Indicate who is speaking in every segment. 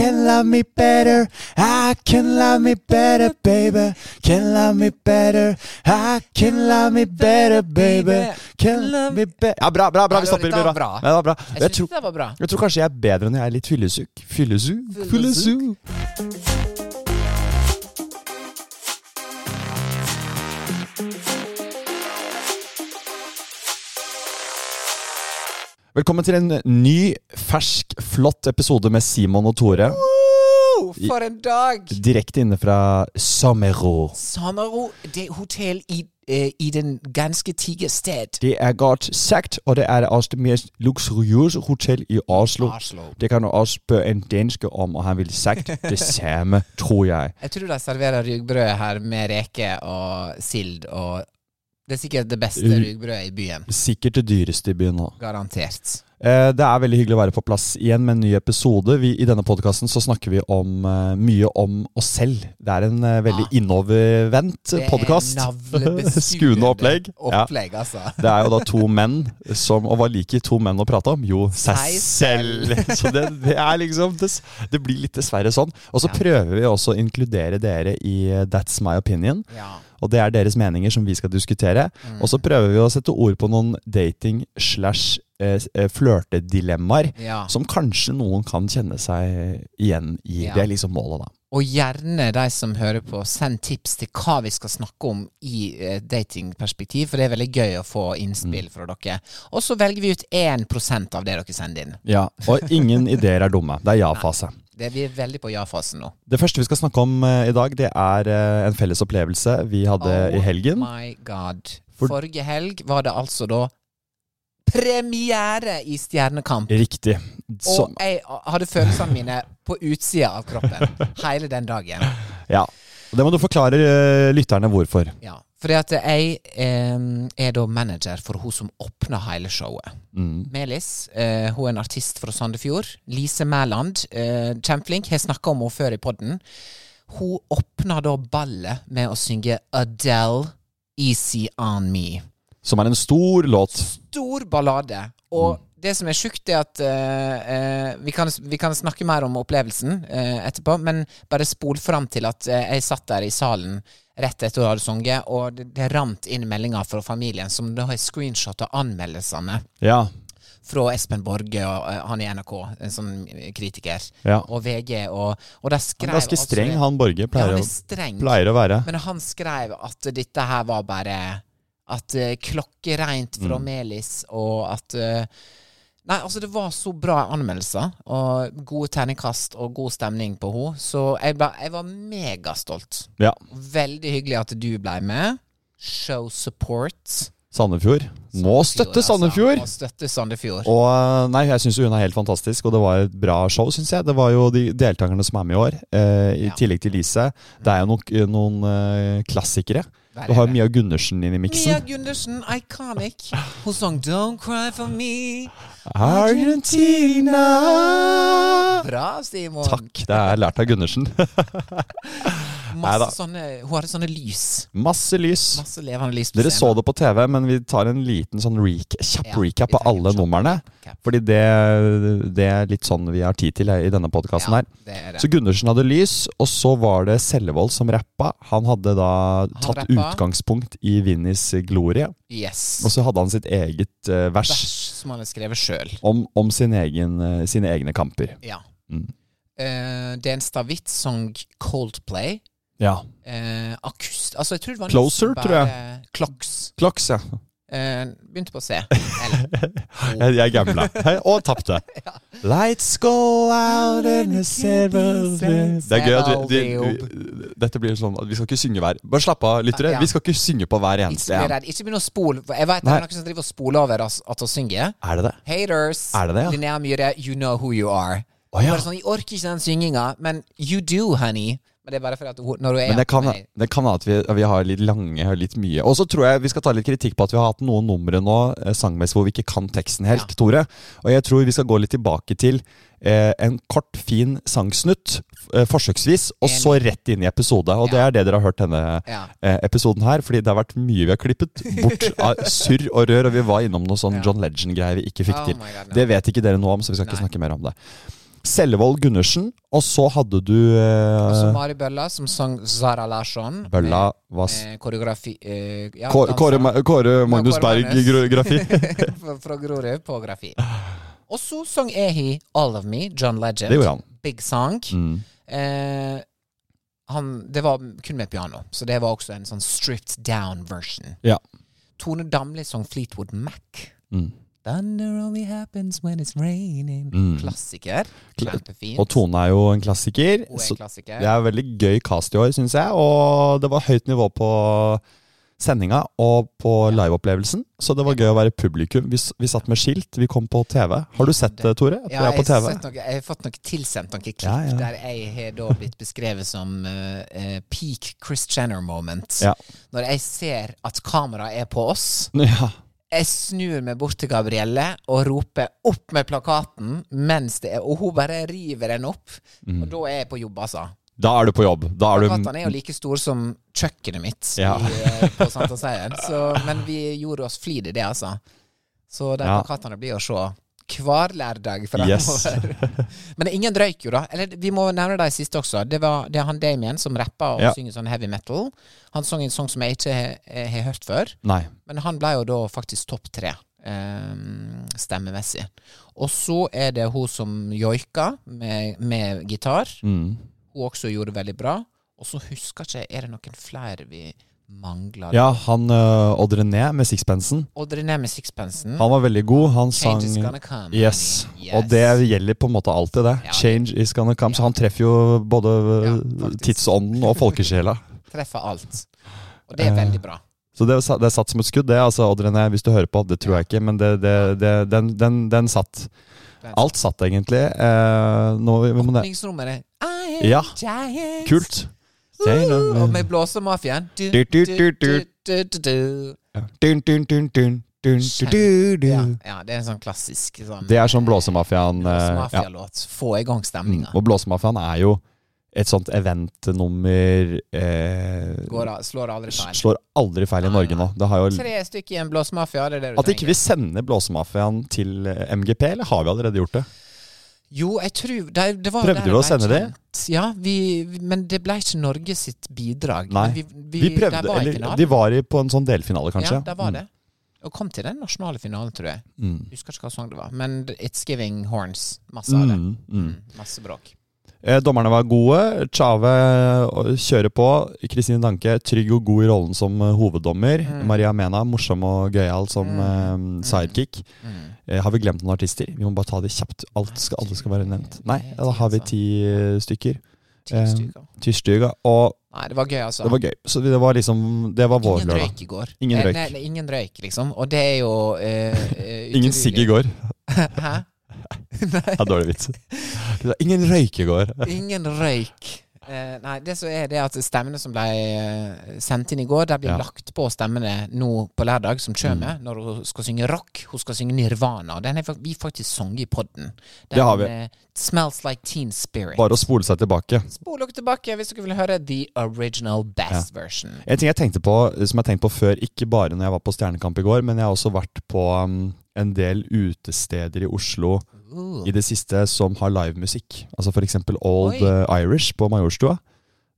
Speaker 1: Can love me better. I can love me better, baby. Can love me better. I can love me better, baby. Can love me better Ja, bra, bra, bra. Vi
Speaker 2: Ja, det
Speaker 1: stopper.
Speaker 2: var litt
Speaker 1: Bra.
Speaker 2: av
Speaker 1: bra.
Speaker 2: bra.
Speaker 1: Ja, det var bra.
Speaker 2: Jeg
Speaker 1: Jeg
Speaker 2: syns
Speaker 1: tror,
Speaker 2: det var bra.
Speaker 1: jeg tror kanskje jeg er bedre når jeg er litt fyllesyk. Fyllesuk? Fyllesuk. Velkommen til en ny, fersk, flott episode med Simon og Tore.
Speaker 2: Oh, for en dag!
Speaker 1: Direkte inne fra Samero.
Speaker 2: Samaro, det er hotell i, eh, i den ganske tige sted.
Speaker 1: Det er godt sagt, og det er også det mest luksuriøse hotel i Oslo.
Speaker 2: Oslo.
Speaker 1: Det kan du også spørre en danske om, og han ville sagt det samme, tror jeg.
Speaker 2: Jeg tror de serverer ryggbrød her med reker og sild og Det er sikkert det beste
Speaker 1: Mm.
Speaker 2: ryggbrødet i byen.
Speaker 1: Sikkert det dyreste i byen nå.
Speaker 2: Garantert.
Speaker 1: Eh, Det er veldig hyggelig å være på plass igjen med en ny episode. Vi, I denne podkasten så snakker vi om, eh, mye om oss selv. Det er en eh, veldig innovervendt
Speaker 2: Ah. Det er
Speaker 1: podkast.
Speaker 2: navlebeskuende
Speaker 1: Skuende opplegg. Ja.
Speaker 2: Opplegg, altså.
Speaker 1: Det er jo da to menn som Og hva liker to menn å prate om? Jo, seg
Speaker 2: Seg
Speaker 1: selv. Så det, det er liksom det, det blir litt dessverre sånn. Og så prøver vi også å inkludere dere i eh, That's my opinion.
Speaker 2: Ja. Mm.
Speaker 1: Og det er deres meninger som vi skal diskutere. Og så prøver vi å sette ord på noen dating slash eh, eh, flørtedilemmaer
Speaker 2: Ja.
Speaker 1: som kanskje noen kan kjenne seg igjen i.
Speaker 2: Ja.
Speaker 1: Det er liksom målet, da.
Speaker 2: Og gjerne de som hører på, send tips til hva vi skal snakke om i eh, datingperspektiv, for det er veldig gøy å få
Speaker 1: Mm.
Speaker 2: innspill fra dere. Og så velger vi ut 1 av det dere sender inn.
Speaker 1: Ja, Og ingen ideer er dumme. Det er ja-fase.
Speaker 2: Det, vi er veldig på ja-fasen nå.
Speaker 1: Det første vi skal snakke om eh, i dag, det er eh, en felles opplevelse vi hadde i helgen.
Speaker 2: Oh my god.
Speaker 1: For-
Speaker 2: Forrige helg var det altså da premiere i Stjernekamp.
Speaker 1: Riktig. Så,
Speaker 2: Og jeg hadde følelsene mine på utsida av kroppen hele den dagen.
Speaker 1: ja. Og Det må du forklare eh, lytterne hvorfor.
Speaker 2: Ja, fordi at jeg eh, er da manager for hun som åpna hele showet. Melis. Eh, hun er en artist fra Sandefjord. Lise Mæland. Eh, kjempeflink. Har snakka om henne før i podden. Hun åpna da ballet med å synge Adele, 'Easy On Me'.
Speaker 1: Som er en stor låt.
Speaker 2: Stor ballade. Og
Speaker 1: Mm.
Speaker 2: det som er sjukt, er at eh, eh, vi, kan, vi kan snakke mer om opplevelsen eh, etterpå, men bare spol fram til at eh, jeg satt der i salen rett etter hun hadde sunget, og det, det rant inn meldinger fra familien, som da har screenshot av anmeldelsene
Speaker 1: Ja.
Speaker 2: fra Espen Borge, og, eh, han i NRK, en sånn kritiker,
Speaker 1: Ja.
Speaker 2: og VG, og, og de
Speaker 1: Han
Speaker 2: skrev
Speaker 1: er ganske
Speaker 2: altså-
Speaker 1: streng, han Borge. Pleier,
Speaker 2: ja,
Speaker 1: å-
Speaker 2: han er streng.
Speaker 1: pleier å være.
Speaker 2: Men han skrev at dette her var bare At eh, klokkereint fra
Speaker 1: Mm.
Speaker 2: Melis, og at eh, Nei, altså, det var så bra anmeldelser, og gode terningkast og god stemning på henne, så jeg, ble, jeg var megastolt.
Speaker 1: Ja.
Speaker 2: Veldig hyggelig at du ble med. Show support.
Speaker 1: Sandefjord. Må støtte Sandefjord!
Speaker 2: Altså. Må støtte Sandefjord.
Speaker 1: Og eh, nei, jeg syns hun er helt fantastisk, og det var et bra show, syns jeg. Det var jo de deltakerne som er med i år, eh, i
Speaker 2: Ja.
Speaker 1: tillegg til Lise. Det er jo nok eh, noen eh, klassikere.
Speaker 2: Der
Speaker 1: Du har
Speaker 2: er
Speaker 1: jo Mia Gundersen inn i
Speaker 2: Mia
Speaker 1: miksen.
Speaker 2: Gundersen, iconic. Hun sang 'Don't Cry For Me'.
Speaker 1: Argentina!
Speaker 2: Bra, Simon.
Speaker 1: Takk, det er lært av Gundersen. Neida.
Speaker 2: Masse sånne, hun hadde sånne lys.
Speaker 1: Masse lys.
Speaker 2: Masse levende lys. på
Speaker 1: Dere så
Speaker 2: scenen.
Speaker 1: det på TV, men vi tar en liten sånn reca- kjapp
Speaker 2: Ja,
Speaker 1: recap av
Speaker 2: vi tar en
Speaker 1: alle
Speaker 2: kjapp
Speaker 1: numrene.
Speaker 2: recap.
Speaker 1: Fordi det, det er litt sånn vi har tid til i denne podkasten her.
Speaker 2: det er det.
Speaker 1: Så Gundersen hadde lys, og så var det Sellevold som rappa. Han hadde da tatt
Speaker 2: rappa.
Speaker 1: utgangspunkt i Vinnies glorie,
Speaker 2: Yes.
Speaker 1: og så hadde han sitt eget eh, vers
Speaker 2: Vers som han har skrevet sjøl.
Speaker 1: om, om sin egen, eh, sine egne kamper.
Speaker 2: Ja.
Speaker 1: Mm.
Speaker 2: Eh, det er en stavitt sang Coldplay.
Speaker 1: Ja.
Speaker 2: Eh, akust... Altså, jeg tror det var
Speaker 1: Closer,
Speaker 2: nesten
Speaker 1: tror jeg.
Speaker 2: bare Clocks.
Speaker 1: Klokks, ja.
Speaker 2: Eh, begynte på C. Eller
Speaker 1: Jeg, jeg gambla. Og tapte. Lights go out in a silver
Speaker 2: Silver
Speaker 1: Det er gøy at vi,
Speaker 2: bulb.
Speaker 1: de, Dette blir sånn at vi skal ikke synge hver Bare slapp av, lyttere.
Speaker 2: Ja.
Speaker 1: Vi skal ikke synge på hver
Speaker 2: Ikke
Speaker 1: eneste
Speaker 2: bli
Speaker 1: en.
Speaker 2: redd. Ikke begynn å spole. for Jeg vet det
Speaker 1: Nei.
Speaker 2: er noen som driver og spoler over oss at vi synger.
Speaker 1: Er det det?
Speaker 2: Haters.
Speaker 1: Er det det, ja?
Speaker 2: Linnea Myhre, you know who you are.
Speaker 1: Å, ja.
Speaker 2: Bare sånn, Jeg orker ikke den synginga, men you do, honey. Men det er bare fordi at hun, når hun er
Speaker 1: Men det kan,
Speaker 2: med-
Speaker 1: det kan være at vi, vi har litt lange og litt mye. Og så tror jeg vi skal ta litt kritikk på at vi har hatt noen numre nå eh, sangmessig hvor vi ikke kan teksten helt, Tore. Og jeg tror vi skal gå litt tilbake til eh, en kort, fin sangsnutt, f- eh, forsøksvis, og
Speaker 2: Enig.
Speaker 1: så rett inn i episode. Og det
Speaker 2: Ja.
Speaker 1: er det dere har hørt denne
Speaker 2: Ja.
Speaker 1: eh, episoden her, fordi det har vært mye vi har klippet bort av surr og rør, og vi var innom noe sånn
Speaker 2: Ja.
Speaker 1: John Legend-greier vi ikke fikk
Speaker 2: Oh
Speaker 1: til.
Speaker 2: my God, no.
Speaker 1: Det vet ikke dere noe om, så vi skal ikke snakke mer om det. Sellevold Gundersen, og så hadde du eh,
Speaker 2: Også Mari Bølla, som sang Zara Larsson.
Speaker 1: Bølla Vass...
Speaker 2: Eh, koreografi eh, ja,
Speaker 1: Kåre,
Speaker 2: dansa.
Speaker 1: Kåre, Ma- Kåre Magnus
Speaker 2: Kåre Magnus.
Speaker 1: Berg-grafi.
Speaker 2: fra, fra Grorud på grafi. Og så sang Ehi All of Me, John Legend.
Speaker 1: Det gjorde han. Mm.
Speaker 2: Big Song. Eh, han, det var kun med piano, så det var også en sånn stripped down version.
Speaker 1: ja.
Speaker 2: Tone Damli sang Fleetwood Mac.
Speaker 1: Mm.
Speaker 2: Thunder only happens when it's raining. Klassiker. Kjempefint.
Speaker 1: Mm. Og Tone er jo en klassiker.
Speaker 2: Hun er en
Speaker 1: så
Speaker 2: klassiker.
Speaker 1: Det er veldig gøy cast i år, syns jeg. Og det var høyt nivå på sendinga og på liveopplevelsen. Så det var gøy å være publikum. Vi, s- vi satt med skilt, vi kom på TV. Har du sett det, Tore? At
Speaker 2: Ja,
Speaker 1: vi er
Speaker 2: jeg,
Speaker 1: på
Speaker 2: har
Speaker 1: TV?
Speaker 2: sett noe, jeg har fått noe tilsendt noen klipp
Speaker 1: Ja, ja.
Speaker 2: der jeg har da blitt beskrevet som eh, eh, peak Chris Jenner moment.
Speaker 1: Ja.
Speaker 2: Når jeg ser at kameraet er på oss,
Speaker 1: Ja.
Speaker 2: jeg snur meg bort til Gabrielle og roper 'opp med plakaten' mens det er Og hun bare river den opp.
Speaker 1: Mm.
Speaker 2: Og da er jeg på jobb, altså.
Speaker 1: Da er du på jobb. Da er
Speaker 2: Plakatene
Speaker 1: du
Speaker 2: er jo like stor som kjøkkenet mitt
Speaker 1: Ja.
Speaker 2: i, eh, på Santa Seier. Så, men vi gjorde oss flid i det, altså. Så de
Speaker 1: Ja.
Speaker 2: plakatene blir å se hver lørdag
Speaker 1: Yes.
Speaker 2: framover. men ingen røyk jo, da. Eller vi må nevne de siste også. Det, var, det er han Damien som rapper og
Speaker 1: Ja.
Speaker 2: synger sånn heavy metal. Han sang en sang som jeg ikke he- he- har hørt før.
Speaker 1: Nei.
Speaker 2: Men han ble jo da faktisk topp tre. eh, stemmemessig. Og så er det hun som joiker med, med gitar.
Speaker 1: Mm.
Speaker 2: Hun også gjorde veldig bra. Og så husker ikke jeg Er det noen flere vi mangler?
Speaker 1: Ja, han øh, Odd René med sixpensen.
Speaker 2: Odd René med sixpensen.
Speaker 1: Han var veldig god. Han sang
Speaker 2: Change is gonna come,
Speaker 1: yes.
Speaker 2: honey.
Speaker 1: Og det gjelder på en måte alltid, det. Change is gonna come. Så han treffer jo både
Speaker 2: Ja,
Speaker 1: eh,
Speaker 2: faktisk.
Speaker 1: tidsånden og folkesjela.
Speaker 2: Treffer alt. Og
Speaker 1: Eh,
Speaker 2: det er veldig bra.
Speaker 1: Så det, er sa- det er satt som et skudd, det. altså Odd René, hvis du hører på. Det tror jeg ikke, men det, det, det, den, den, den satt. Alt satt, egentlig. Eh, nå, men det,
Speaker 2: Åpningsnummeret I am
Speaker 1: Ja.
Speaker 2: giant.
Speaker 1: kult.
Speaker 2: Og med blåsemafiaen. Du,
Speaker 1: Du, du, du, du.
Speaker 2: du, du, du.
Speaker 1: Dun, dun, dun, dun, dun, du, du, du.
Speaker 2: Ja, ja, det er en sånn klassisk sånn,
Speaker 1: Det er sånn Blåsemafiaen. eh, ja. Mm,
Speaker 2: Blåsemafialåt. Få i gang stemninga.
Speaker 1: Og Blåsemafiaen er jo et sånt eventnummer eh,
Speaker 2: Går av- Slår aldri feil. Ah.
Speaker 1: slår aldri feil i Norge nå. Det har jo
Speaker 2: Tre stykker i en blåsemafia, det er det du
Speaker 1: At ikke
Speaker 2: trenger.
Speaker 1: vi sender Blåsemafiaen til eh, MGP, eller har vi allerede gjort det?
Speaker 2: Jo, jeg tror det, det var
Speaker 1: Prøvde
Speaker 2: der
Speaker 1: vi å
Speaker 2: ble
Speaker 1: sende det?
Speaker 2: kjent. Ja, vi, vi- men det ble ikke Norge sitt bidrag.
Speaker 1: Nei.
Speaker 2: Men
Speaker 1: Vi,
Speaker 2: der
Speaker 1: prøvde,
Speaker 2: var i
Speaker 1: eller
Speaker 2: finalen.
Speaker 1: de var i, på en sånn delfinale, kanskje. Mm.
Speaker 2: Ja, der var det. Og kom til den nasjonale finalen, tror jeg. Husker ikke hva sang det var, men It's Giving Horns. Masse av det. Mm, Masse bråk.
Speaker 1: Eh, dommerne var gode. Tjave eh, kjører på. Kristine Danke trygg og god i rollen som eh, hoveddommer.
Speaker 2: Mm.
Speaker 1: Maria Mena morsom og gøyal som eh, sidekick.
Speaker 2: Mm.
Speaker 1: Eh, har vi glemt noen artister? Vi må bare ta det kjapt. Alt skal, alle skal være nevnt. Nei, da har vi ti eh, stykker.
Speaker 2: Ti
Speaker 1: Eh,
Speaker 2: stykker.
Speaker 1: Tyrstyga. Og
Speaker 2: Nei, det var gøy, altså.
Speaker 1: det var gøy. Så det var liksom Det var vår
Speaker 2: ingen
Speaker 1: lørdag.
Speaker 2: røyk i går.
Speaker 1: Ingen
Speaker 2: Eh,
Speaker 1: røyk.
Speaker 2: Nei, nei, ingen røyk, liksom. Og det er jo eh, eh,
Speaker 1: Ingen
Speaker 2: utrolig.
Speaker 1: sigg i går.
Speaker 2: Hæ?
Speaker 1: Ja, dårlig vits. Ingen røyk i går.
Speaker 2: Ingen røyk. Eh, nei, det som er det at stemmene som ble eh, sendt inn i går, der blir
Speaker 1: Ja. Mm.
Speaker 2: lagt på stemmene nå på lørdag, som kommer, når hun skal synge rock. Hun skal synge Nirvana. Den har vi faktisk sunget i podden. Den,
Speaker 1: har vi.
Speaker 2: eh, smells like teen spirit.
Speaker 1: Bare å spole seg tilbake.
Speaker 2: Spol dere tilbake hvis dere vil høre the original best version.
Speaker 1: En ting jeg tenkte på, som jeg tenkte på før, ikke bare når jeg var på Stjernekamp i går, men jeg har også vært på um, en del utesteder i Oslo i det siste som har livemusikk. Altså for eksempel Old
Speaker 2: Oi.
Speaker 1: eh, Irish på Majorstua.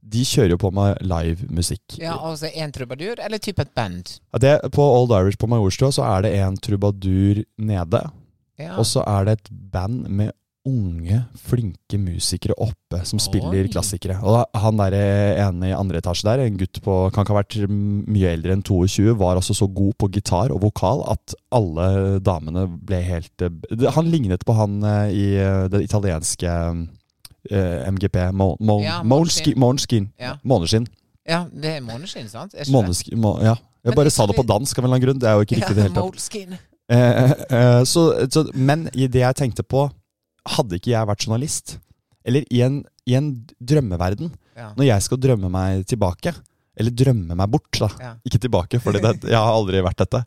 Speaker 1: De kjører jo på med livemusikk.
Speaker 2: Ja, altså en trubadur eller type et band.
Speaker 1: Ja, det- På Old Irish på Majorstua så er det en trubadur nede,
Speaker 2: Ja.
Speaker 1: og så er det et band med unge, flinke musikere oppe som spiller klassikere. Og han der eh, ene i andre etasje der, en gutt på kan ikke ha vært mm, mye eldre enn 22, var altså så god på gitar og vokal at alle damene ble helt eh, b- Han lignet på han eh, i eh, det italienske eh, MGP, Mo- Mo-
Speaker 2: Ja,
Speaker 1: Måneskin. Måneskin.
Speaker 2: Ja.
Speaker 1: Måneskin.
Speaker 2: Ja, det er måneskinn, sant? Er ikke det?
Speaker 1: Månesk- må, ja. Jeg
Speaker 2: Men
Speaker 1: bare
Speaker 2: ikke
Speaker 1: sa det på
Speaker 2: vi-
Speaker 1: dansk av en eller annen grunn. Det er jo ikke riktig. i det hele tatt.
Speaker 2: Måneskin.
Speaker 1: Eh, eh, så, så, men i det jeg tenkte på, hadde ikke jeg vært journalist, eller i en, i en drømmeverden,
Speaker 2: Ja.
Speaker 1: når jeg skal drømme meg tilbake, eller drømme meg bort, da.
Speaker 2: Ja.
Speaker 1: Ikke tilbake, for jeg har aldri vært dette.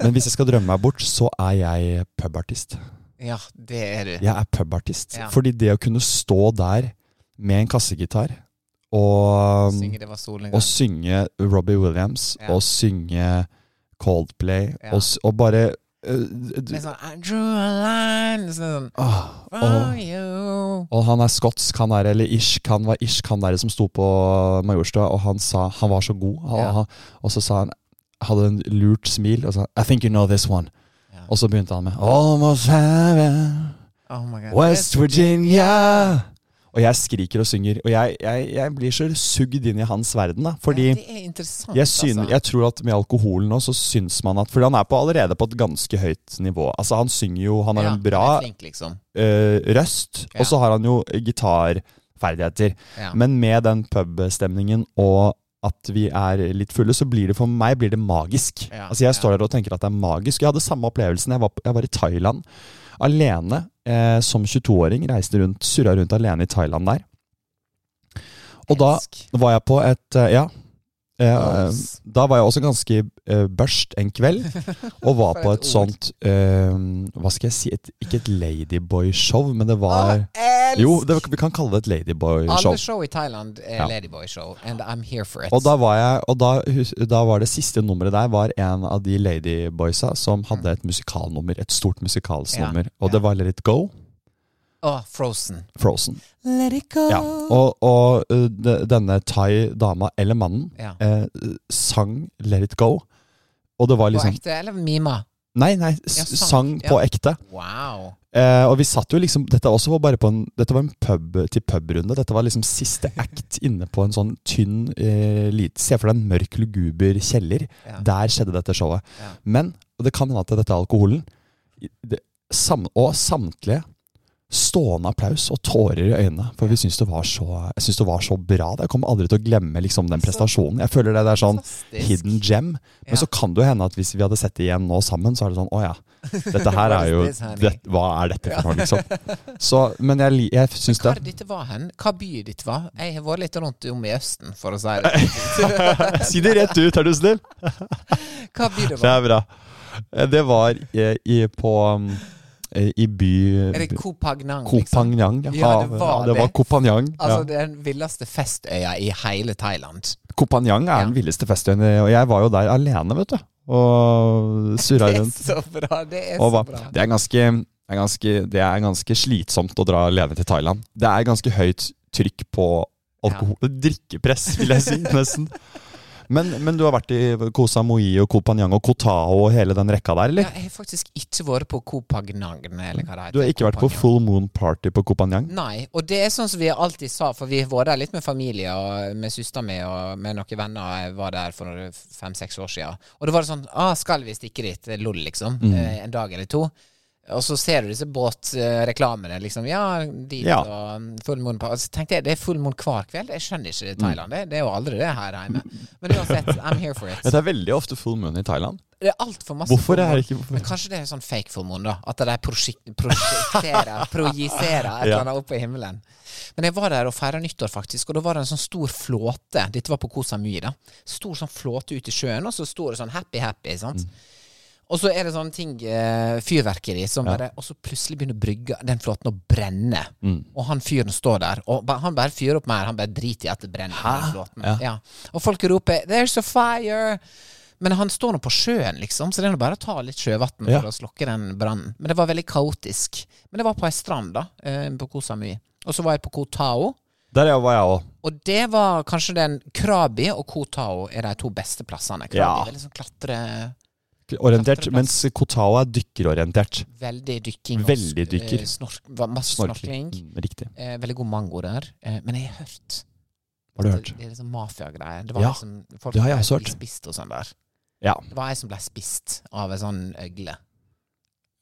Speaker 1: Men hvis jeg skal drømme meg bort, så er jeg pubartist.
Speaker 2: Ja, det er du.
Speaker 1: Jeg er pubartist.
Speaker 2: Ja.
Speaker 1: Fordi det å kunne stå der med en kassegitar og
Speaker 2: Synge det var solen en
Speaker 1: å
Speaker 2: gang.
Speaker 1: synge Robbie Williams,
Speaker 2: Ja.
Speaker 1: og synge Coldplay,
Speaker 2: Ja.
Speaker 1: og, s- og bare eh, d- d-
Speaker 2: Med sånn I drew a line sånn,
Speaker 1: ah,
Speaker 2: For
Speaker 1: og,
Speaker 2: you.
Speaker 1: og han er skotsk, han er, eller irsk, han var irsk, han der som sto på Majorstua, og han sa han var så god. Han,
Speaker 2: Ja.
Speaker 1: han, og så sa han hadde en lurt smil og sa I think you know this one.
Speaker 2: Ja.
Speaker 1: Og så begynte han med Almost heaven,
Speaker 2: Oh my god.
Speaker 1: West Virginia. Og jeg skriker og synger, og jeg, jeg, jeg blir så sugd inn i hans verden, da. Fordi
Speaker 2: ja, Det er interessant,
Speaker 1: jeg, syn,
Speaker 2: altså.
Speaker 1: jeg tror at med alkoholen nå, så syns man at Fordi han er på allerede på et ganske høyt nivå. Altså, han synger jo Han har
Speaker 2: Ja,
Speaker 1: en bra
Speaker 2: han er flink, liksom.
Speaker 1: eh, røst,
Speaker 2: Ja.
Speaker 1: og så har han jo gitarferdigheter.
Speaker 2: Ja.
Speaker 1: Men med den pubstemningen og at vi er litt fulle, så blir det for meg blir det magisk.
Speaker 2: Ja,
Speaker 1: altså Jeg
Speaker 2: ja.
Speaker 1: står der og tenker at det er magisk. Jeg hadde samme opplevelsen. Jeg var, jeg var i Thailand alene eh, som 22-åring. Reiste rundt, surra rundt alene i Thailand der. Og da
Speaker 2: Elsk.
Speaker 1: var jeg på et eh, Ja. Eh,
Speaker 2: Nice.
Speaker 1: da var jeg også ganske eh, børst en kveld, og var
Speaker 2: For
Speaker 1: på et
Speaker 2: et ord.
Speaker 1: sånt eh, Hva skal jeg si? Et, ikke et ladyboy-show, men det var
Speaker 2: Elsk.
Speaker 1: Jo, det, vi kan kalle det et ladyboy-show.
Speaker 2: Alle show i Thailand er
Speaker 1: Ja.
Speaker 2: Ladyboy-show, and I'm here for it.
Speaker 1: Og da var jeg Og da, hus- da var det siste nummeret der Var en av de ladyboysa som hadde et musikalnummer. Et stort musikalsnummer.
Speaker 2: Ja,
Speaker 1: Og det
Speaker 2: ja.
Speaker 1: var Let It Go,
Speaker 2: Åh, Frozen.
Speaker 1: Frozen.
Speaker 2: Let it go.
Speaker 1: Ja. Og, og eh, de- denne thai-dama, eller mannen,
Speaker 2: Ja.
Speaker 1: eh, sang Let It Go. Og det var
Speaker 2: På
Speaker 1: liksom
Speaker 2: ekte, eller mima?
Speaker 1: Nei, nei, s-
Speaker 2: Ja,
Speaker 1: sang
Speaker 2: sang,
Speaker 1: på
Speaker 2: ja.
Speaker 1: ekte.
Speaker 2: Wow.
Speaker 1: Eh, og vi satt jo liksom Dette også var bare på en Dette var en pub til pub-runde. Dette var liksom siste act inne på en sånn tynn eh, lit, Se for deg en mørk, luguber kjeller.
Speaker 2: Ja.
Speaker 1: Der skjedde dette showet.
Speaker 2: Ja.
Speaker 1: Men og det kan hende at dette er alkoholen. I- Det, sam, og samtlige stående applaus og tårer i øynene. For vi syns det var så Jeg syns det var så bra. Jeg kommer aldri til å glemme liksom den prestasjonen. Jeg føler det, det er sånn
Speaker 2: Fantastisk.
Speaker 1: hidden gem. Men
Speaker 2: Ja.
Speaker 1: så kan det jo hende at hvis vi hadde sett det igjen nå sammen, så er det sånn Å ja. Dette her
Speaker 2: What
Speaker 1: er
Speaker 2: is
Speaker 1: jo
Speaker 2: this, honey?
Speaker 1: det, Hva er dette for noe, liksom? Så, men jeg, li- jeg syns
Speaker 2: Hva
Speaker 1: det
Speaker 2: er det dette var hen? Hva by ditt var? Jeg har vært litt rundt om i Østen, for å si det.
Speaker 1: Si det rett ut, er du snill!
Speaker 2: Hva by det
Speaker 1: Det
Speaker 2: var?
Speaker 1: er bra. Eh, Det var i, i, på um, eh, I by
Speaker 2: Er det Koh Phangan, liksom?
Speaker 1: Kopanjang.
Speaker 2: Ja, det var
Speaker 1: det. var
Speaker 2: det.
Speaker 1: Kopanjang. ja.
Speaker 2: Altså, det er den villeste festøya i hele Thailand.
Speaker 1: Kopanjang er
Speaker 2: Ja.
Speaker 1: den villeste festen, eh, og jeg var jo der alene, vet du. Og surra
Speaker 2: Det er
Speaker 1: rundt.
Speaker 2: så bra! Det er
Speaker 1: Og
Speaker 2: så
Speaker 1: hva-
Speaker 2: bra.
Speaker 1: det, er ganske, det, er ganske, det er ganske slitsomt å dra alene til Thailand. Det er ganske høyt trykk på alkohol. Drikkepress, vil jeg si, nesten. Men, men du har vært i Koh Samui og Koh Phangan og Koh Tao og hele den rekka der,
Speaker 2: Ja,
Speaker 1: eller?
Speaker 2: jeg har faktisk ikke vært på Koh Phangan, eller hva det heter.
Speaker 1: Du har ikke
Speaker 2: Koh
Speaker 1: vært på
Speaker 2: Phangan.
Speaker 1: full moon party på Koh Phangan?
Speaker 2: Nei, og det er sånn som vi alltid sa, for vi var der litt med familie og med søster mi og med noen venner. Jeg var der for fem-seks år siden. Og det var sånn ah, Skal vi stikke dit? Det er LOL, liksom.
Speaker 1: Mm.
Speaker 2: Eh, en dag eller to. Og så ser du disse båtreklamene, liksom. Ja, dit
Speaker 1: Ja.
Speaker 2: og mm, full moon på Og Så tenkte jeg, det er full moon hver kveld? Jeg skjønner ikke
Speaker 1: Mm.
Speaker 2: Thailand. Det, det er jo aldri det her hjemme. Men uansett, I'm here for
Speaker 1: Ja,
Speaker 2: it.
Speaker 1: det er veldig ofte full moon i Thailand.
Speaker 2: Det er altfor masse
Speaker 1: Hvorfor
Speaker 2: full
Speaker 1: er
Speaker 2: moon.
Speaker 1: det ikke
Speaker 2: Men kanskje det er sånn fake fullmåne, da. At de prosjek- prosjekterer, projiserer et eller
Speaker 1: Ja.
Speaker 2: annet opp i himmelen. Men jeg var der og feira nyttår, faktisk, og da var det en sånn stor flåte. Dette var på Koh Samui, da. Stor sånn flåte ute i sjøen, og så står det sånn happy, happy,
Speaker 1: Mm.
Speaker 2: sant. Og så er det sånne ting, eh, fyrverkeri, som bare Og så plutselig begynner brygga, den flåten å brenne.
Speaker 1: Mm.
Speaker 2: Og han fyren står der, og ba, han bare fyrer opp mer. Han bare driter i at det brenner. den flåten. Ja. Og folk roper 'There's a fire'. Men han står nå på sjøen, liksom, så det er nå bare å ta litt sjøvann
Speaker 1: Ja.
Speaker 2: for å slokke den brannen. Men det var veldig kaotisk. Men det var på ei strand, da, eh, på Koh Samui. Og så var jeg på Koh Tao.
Speaker 1: Der jeg var jeg òg.
Speaker 2: Og det var kanskje den Krabi og Koh Tao er de to beste plassene. Krabi
Speaker 1: Ja.
Speaker 2: er veldig sånn klatre...
Speaker 1: orientert, mens Kotao er dykkerorientert.
Speaker 2: Veldig dykking. og
Speaker 1: Veldig
Speaker 2: sk-
Speaker 1: dykker.
Speaker 2: eh, Snork, va- masse snorkling.
Speaker 1: Mm, Riktig.
Speaker 2: Eh, veldig god mango der. Eh, men jeg har hørt
Speaker 1: Har du
Speaker 2: at
Speaker 1: hørt?
Speaker 2: Det, det er liksom mafiagreier. Det var
Speaker 1: Ja,
Speaker 2: liksom folk
Speaker 1: det har jeg
Speaker 2: ble
Speaker 1: også hørt.
Speaker 2: spist og sånn der.
Speaker 1: Ja.
Speaker 2: Det var ei som ble spist av ei sånn øgle.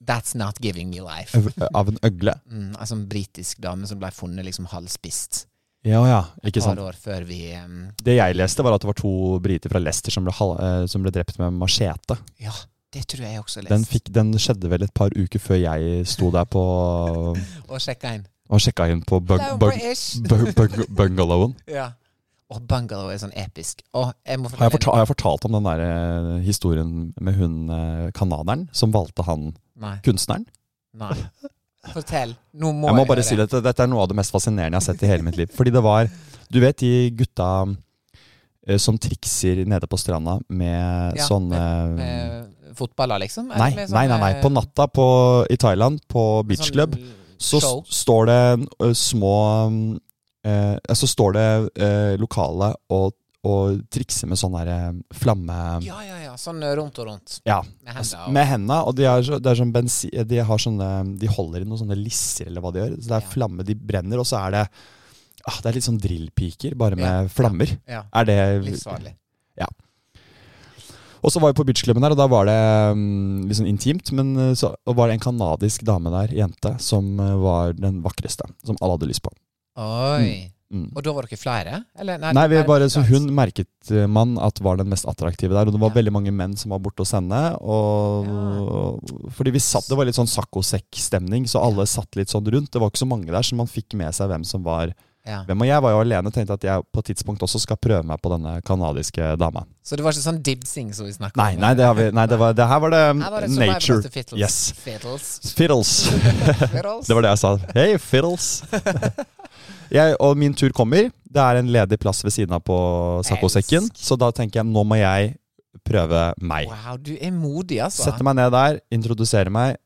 Speaker 2: That's not giving me life.
Speaker 1: Av av en øgle.
Speaker 2: Mm, ei sånn britisk dame som ble funnet liksom halvspist
Speaker 1: Ja, ja.
Speaker 2: et
Speaker 1: Ikke
Speaker 2: par
Speaker 1: sant.
Speaker 2: år før vi um,
Speaker 1: Det jeg leste, var at det var to briter fra Leicester som ble, hal- eh, som ble drept med machete.
Speaker 2: Ja, det tror jeg også leste.
Speaker 1: Den, fikk, den skjedde vel et par uker før jeg sto der på
Speaker 2: Og sjekka inn.
Speaker 1: og sjekka inn på bung,
Speaker 2: Hello,
Speaker 1: bung,
Speaker 2: British.
Speaker 1: bung, bung, bungalowen.
Speaker 2: Ja. Og bungalow er sånn episk. Og jeg må
Speaker 1: Har jeg,
Speaker 2: fortelle-
Speaker 1: fortalt, har jeg fortalt om den der eh, historien med hun eh, kanaderen som valgte han
Speaker 2: Nei.
Speaker 1: kunstneren?
Speaker 2: Nei. Fortell. Nå må
Speaker 1: Jeg må
Speaker 2: jeg
Speaker 1: bare
Speaker 2: høre.
Speaker 1: si at dette er noe av det mest fascinerende jeg har sett i hele mitt liv. Fordi det var Du vet de gutta eh, som trikser nede på stranda med
Speaker 2: Ja,
Speaker 1: sånne
Speaker 2: Med Eh, fotballer, liksom? Eller
Speaker 1: nei,
Speaker 2: med
Speaker 1: nei, nei, nei. På
Speaker 2: sånne-
Speaker 1: natta på, i Thailand, på beach
Speaker 2: sånn
Speaker 1: club, så s-
Speaker 2: show.
Speaker 1: står det eh, små eh, eh, Så står det eh, lokale og, og trikser med sånn derre flamme...
Speaker 2: Ja, ja, ja. Sånn eh, rundt og rundt.
Speaker 1: Ja,
Speaker 2: Med
Speaker 1: Altså,
Speaker 2: henda og
Speaker 1: Med henda, og de, er, så- det er sånn bensi, de, har sånne, de holder i noen sånne lisser, eller hva de gjør. Så det er
Speaker 2: Ja.
Speaker 1: flamme, de brenner, og så er det ah, Det er litt sånn drillpiker, bare med
Speaker 2: Ja, ja.
Speaker 1: flammer.
Speaker 2: Ja.
Speaker 1: Er det
Speaker 2: Livsfarlig.
Speaker 1: Og så var vi på beachklubben der, og da var det mm, litt sånn intimt. Men eh, så og var det en kanadisk dame der, jente, som eh, var den vakreste. Som alle hadde lyst på.
Speaker 2: Oi.
Speaker 1: Mm.
Speaker 2: Og da var dere flere? Eller,
Speaker 1: Nei, vi
Speaker 2: det er
Speaker 1: bare, så
Speaker 2: motsatt.
Speaker 1: hun merket eh, man at var den mest attraktive der. Og det var
Speaker 2: Ja.
Speaker 1: veldig mange menn som var borte hos henne. Og, Fordi vi satt, Det var litt sånn saccosekk-stemning, så alle satt litt sånn rundt. Det var ikke så mange der, så man fikk med seg hvem som var
Speaker 2: ja.
Speaker 1: hvem. Og jeg var jo alene og tenkte at jeg på et tidspunkt også skal prøve meg på denne kanadiske dama.
Speaker 2: Så det var ikke sånn dibsing som vi snakket
Speaker 1: Nei,
Speaker 2: om?
Speaker 1: nei, det, har vi, nei det, var, det her var det,
Speaker 2: Her var det survival of the
Speaker 1: nature.
Speaker 2: fittles.
Speaker 1: Yes.
Speaker 2: Fiddles.
Speaker 1: Fiddles.
Speaker 2: Fiddles.
Speaker 1: Det var det jeg sa. Hei, fiddles. jeg, og min tur kommer. Det er en ledig plass ved siden av på saccosekken.
Speaker 2: Elsk.
Speaker 1: Så da tenker jeg nå må jeg prøve meg.
Speaker 2: Wow, du er modig, altså.
Speaker 1: Setter meg ned der, introduserer meg.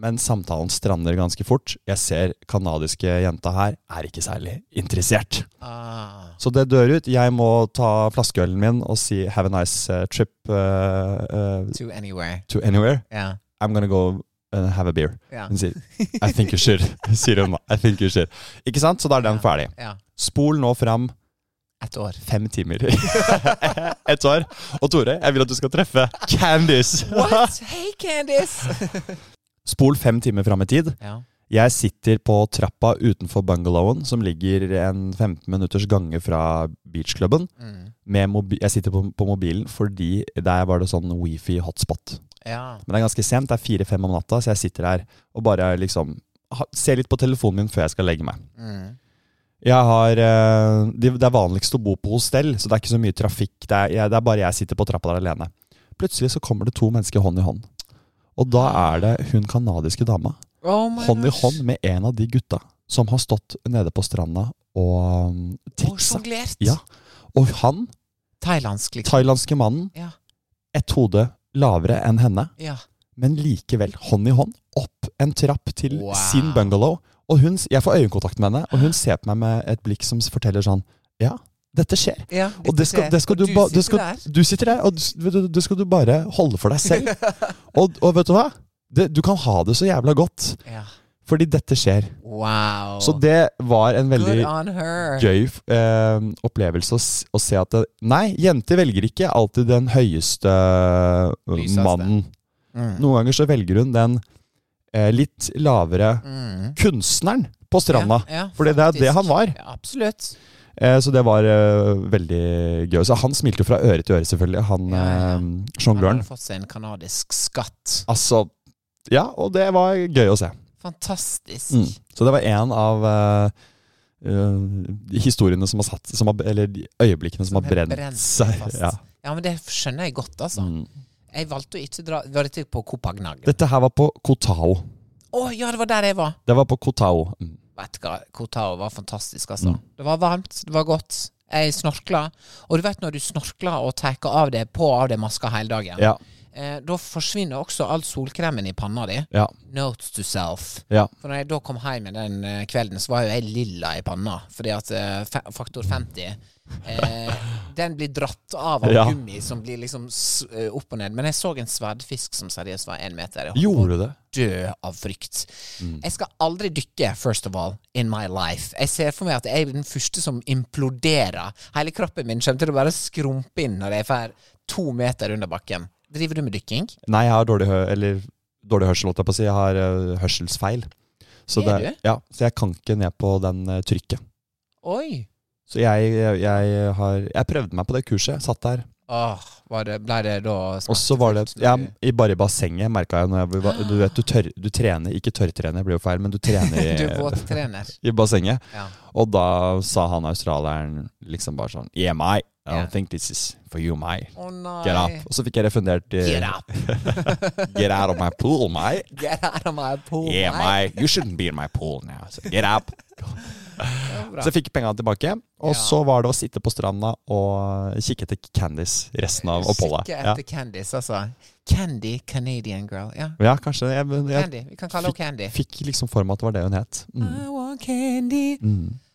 Speaker 1: Men samtalen strander ganske fort. Jeg ser kanadiske jenta her er ikke særlig interessert.
Speaker 2: Ah.
Speaker 1: Så det dør ut. Jeg må ta flaskeølen min og si 'have a nice eh, trip eh, eh,
Speaker 2: To anywhere.
Speaker 1: to anywhere'.
Speaker 2: Ja.
Speaker 1: I'm gonna go and have a beer.
Speaker 2: Ja.
Speaker 1: Hun sier I think you should. sier hun da. I think you should. Ikke sant? Så da er den ferdig.
Speaker 2: ja.
Speaker 1: Spol nå fram
Speaker 2: Et år.
Speaker 1: fem timer. Ett år. Og Tore, jeg vil at du skal treffe Candice.
Speaker 2: What? Hey, Candice!
Speaker 1: Spol fem timer fram i tid.
Speaker 2: ja.
Speaker 1: Jeg sitter på trappa utenfor bungalowen, som ligger en 15 minutters gange fra beachklubben.
Speaker 2: Mm.
Speaker 1: Med mobi jeg sitter på, på mobilen fordi der var det sånn wifi hotspot.
Speaker 2: ja.
Speaker 1: Men det er ganske sent, det er fire-fem om natta, så jeg sitter her og bare liksom ha, ser litt på telefonen min før jeg skal legge meg.
Speaker 2: Mm.
Speaker 1: Jeg har, eh, de- Det er vanligst å bo på hostell, så det er ikke så mye trafikk. Det er, jeg, det er bare jeg sitter på trappa der alene. Plutselig så kommer det to mennesker hånd i hånd. Og da er det hun kanadiske dama
Speaker 2: Oh my
Speaker 1: hånd i
Speaker 2: gosh.
Speaker 1: hånd med en av de gutta som har stått nede på stranda og mm,
Speaker 2: Og
Speaker 1: triksa.
Speaker 2: sjonglert.
Speaker 1: Ja. Og han,
Speaker 2: Thailandsk, liksom.
Speaker 1: thailandske mannen,
Speaker 2: Ja.
Speaker 1: ett hode lavere enn henne,
Speaker 2: Ja.
Speaker 1: men likevel hånd i hånd opp en trapp til
Speaker 2: Wow.
Speaker 1: sin bungalow. Og hun, jeg får øyekontakt med henne, og hun ser på meg med et blikk som forteller sånn Ja, dette skjer.
Speaker 2: ja
Speaker 1: Og det skal, det skal du, ba, det skal, du sitter der, og du- du- det skal du bare holde for deg selv. Og, og vet du hva? Det, du kan ha det så jævla godt,
Speaker 2: Ja.
Speaker 1: fordi dette skjer.
Speaker 2: Wow.
Speaker 1: Så det var en veldig
Speaker 2: Good on her.
Speaker 1: gøy eh, opplevelse å, s- å se at det, Nei, jenter velger ikke alltid den høyeste eh,
Speaker 2: Lyseste.
Speaker 1: mannen.
Speaker 2: Mm.
Speaker 1: Noen ganger så velger hun den eh, litt lavere
Speaker 2: Mm.
Speaker 1: kunstneren på stranda.
Speaker 2: Ja, ja,
Speaker 1: Fordi det er det
Speaker 2: faktisk.
Speaker 1: han var.
Speaker 2: Ja, absolutt.
Speaker 1: Eh, så det var eh, veldig gøy. Så han smilte jo fra øre til øre, selvfølgelig, han
Speaker 2: Ja, ja.
Speaker 1: eh,
Speaker 2: Han
Speaker 1: sjongløren.
Speaker 2: har fått seg en kanadisk skatt.
Speaker 1: Altså Ja, og det var gøy å se.
Speaker 2: Fantastisk.
Speaker 1: Mm. Så det var en av eh, eh, historiene som har satt som har, Eller de øyeblikkene som,
Speaker 2: Som
Speaker 1: har
Speaker 2: har
Speaker 1: brent,
Speaker 2: brent
Speaker 1: seg.
Speaker 2: fast.
Speaker 1: Ja.
Speaker 2: Ja, men det skjønner jeg godt, altså.
Speaker 1: Mm.
Speaker 2: Jeg valgte å ikke dra Var dette på Kopenhagen? Å
Speaker 1: Dette her var på Kotao.
Speaker 2: ja, det var der jeg var!
Speaker 1: Det var på Kotao. Mm.
Speaker 2: Vet du hva, Kotao var fantastisk, altså. Det var varmt, det var godt. Jeg snorkla. Og du vet når du snorkler og tar av deg på av deg maska hele dagen,
Speaker 1: Ja.
Speaker 2: Eh, da forsvinner også all solkremen i panna di.
Speaker 1: Ja.
Speaker 2: Notes to self.
Speaker 1: Ja.
Speaker 2: For når jeg da kom hjem den eh, kvelden, så var jo jeg lilla i panna. Fordi at eh, fa- faktor 50 eh, Den blir dratt av av
Speaker 1: Ja.
Speaker 2: gummi som blir liksom s eh, opp og ned. Men jeg så en sverdfisk som seriøst var én meter. Jeg
Speaker 1: Gjorde du det?
Speaker 2: død av frykt. Jeg skal aldri dykke, first of all, in my life. Jeg ser for meg at jeg er den første som imploderer. Hele kroppen min kommer til å bare skrumpe inn når jeg får to meter under bakken. Driver du med dykking?
Speaker 1: Nei, jeg har dårlig, hø eller, dårlig hørsel, holdt jeg på å si. Jeg har eh, hørselsfeil. Så,
Speaker 2: Er
Speaker 1: det, ja, så jeg kan ikke ned på den eh, trykket.
Speaker 2: Oi!
Speaker 1: Så jeg, jeg, jeg har Jeg prøvde meg på det kurset. Jeg satt der.
Speaker 2: Åh, var det, ble det da
Speaker 1: Og så var det
Speaker 2: smertefullt
Speaker 1: ja,
Speaker 2: når du-
Speaker 1: i, Bare i bassenget merka jeg når jeg var- Du vet, du, tør, du trener Ikke tørrtrener, blir jo feil, men du trener
Speaker 2: Du er
Speaker 1: i,
Speaker 2: våttrener.
Speaker 1: i bassenget.
Speaker 2: Ja.
Speaker 1: Og da sa han australieren liksom bare sånn Yeah, my. I
Speaker 2: Ja.
Speaker 1: don't think this is for you, my.
Speaker 2: Å nei.
Speaker 1: Get up. Og så fikk jeg refundert eh,
Speaker 2: Get up.
Speaker 1: Get out of my pool, my.
Speaker 2: Get out of my pool.
Speaker 1: Yeah,
Speaker 2: Oh, nei.
Speaker 1: my. You shouldn't be in my pool now. So get up.
Speaker 2: bra.
Speaker 1: så jeg fikk penga tilbake. Og så var det å sitte på stranda og kikke etter Candice resten av oppholdet.
Speaker 2: Kikke
Speaker 1: Ja.
Speaker 2: etter Candice, altså. Candy Canadian girl. Ja.
Speaker 1: ja, kanskje. Jeg, jeg
Speaker 2: Candy. Ah. Vi kan kalle henne Candy.
Speaker 1: fikk liksom for meg at det var det hun het. Mm.
Speaker 2: I want candy.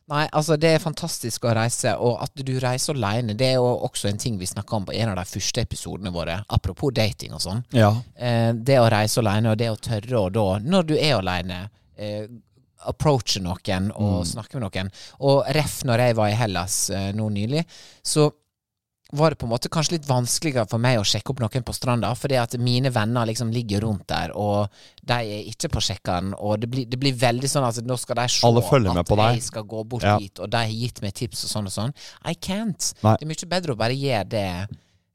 Speaker 2: Nei, altså det er fantastisk å reise, og at du reiser alene, det er jo også en ting vi snakka om på en av de første episodene våre, apropos dating og sånn.
Speaker 1: Ja.
Speaker 2: Eh, det å reise alene, og det å tørre å da, når du er alene, eh, approache noen og
Speaker 1: Mm.
Speaker 2: snakke med noen. Og ref når jeg var i Hellas eh, nå nylig, så var det på en måte kanskje litt vanskeligere for meg å sjekke opp noen på stranda, fordi at mine venner liksom ligger rundt der, og de er ikke på sjekkeren, og det blir, det blir veldig sånn at nå skal de se
Speaker 1: Alle følger med
Speaker 2: at
Speaker 1: på deg.
Speaker 2: jeg skal gå bort
Speaker 1: Ja.
Speaker 2: hit, og de har gitt meg tips og sånn og sånn. I can't.
Speaker 1: Nei.
Speaker 2: Det er mye bedre å bare gjøre det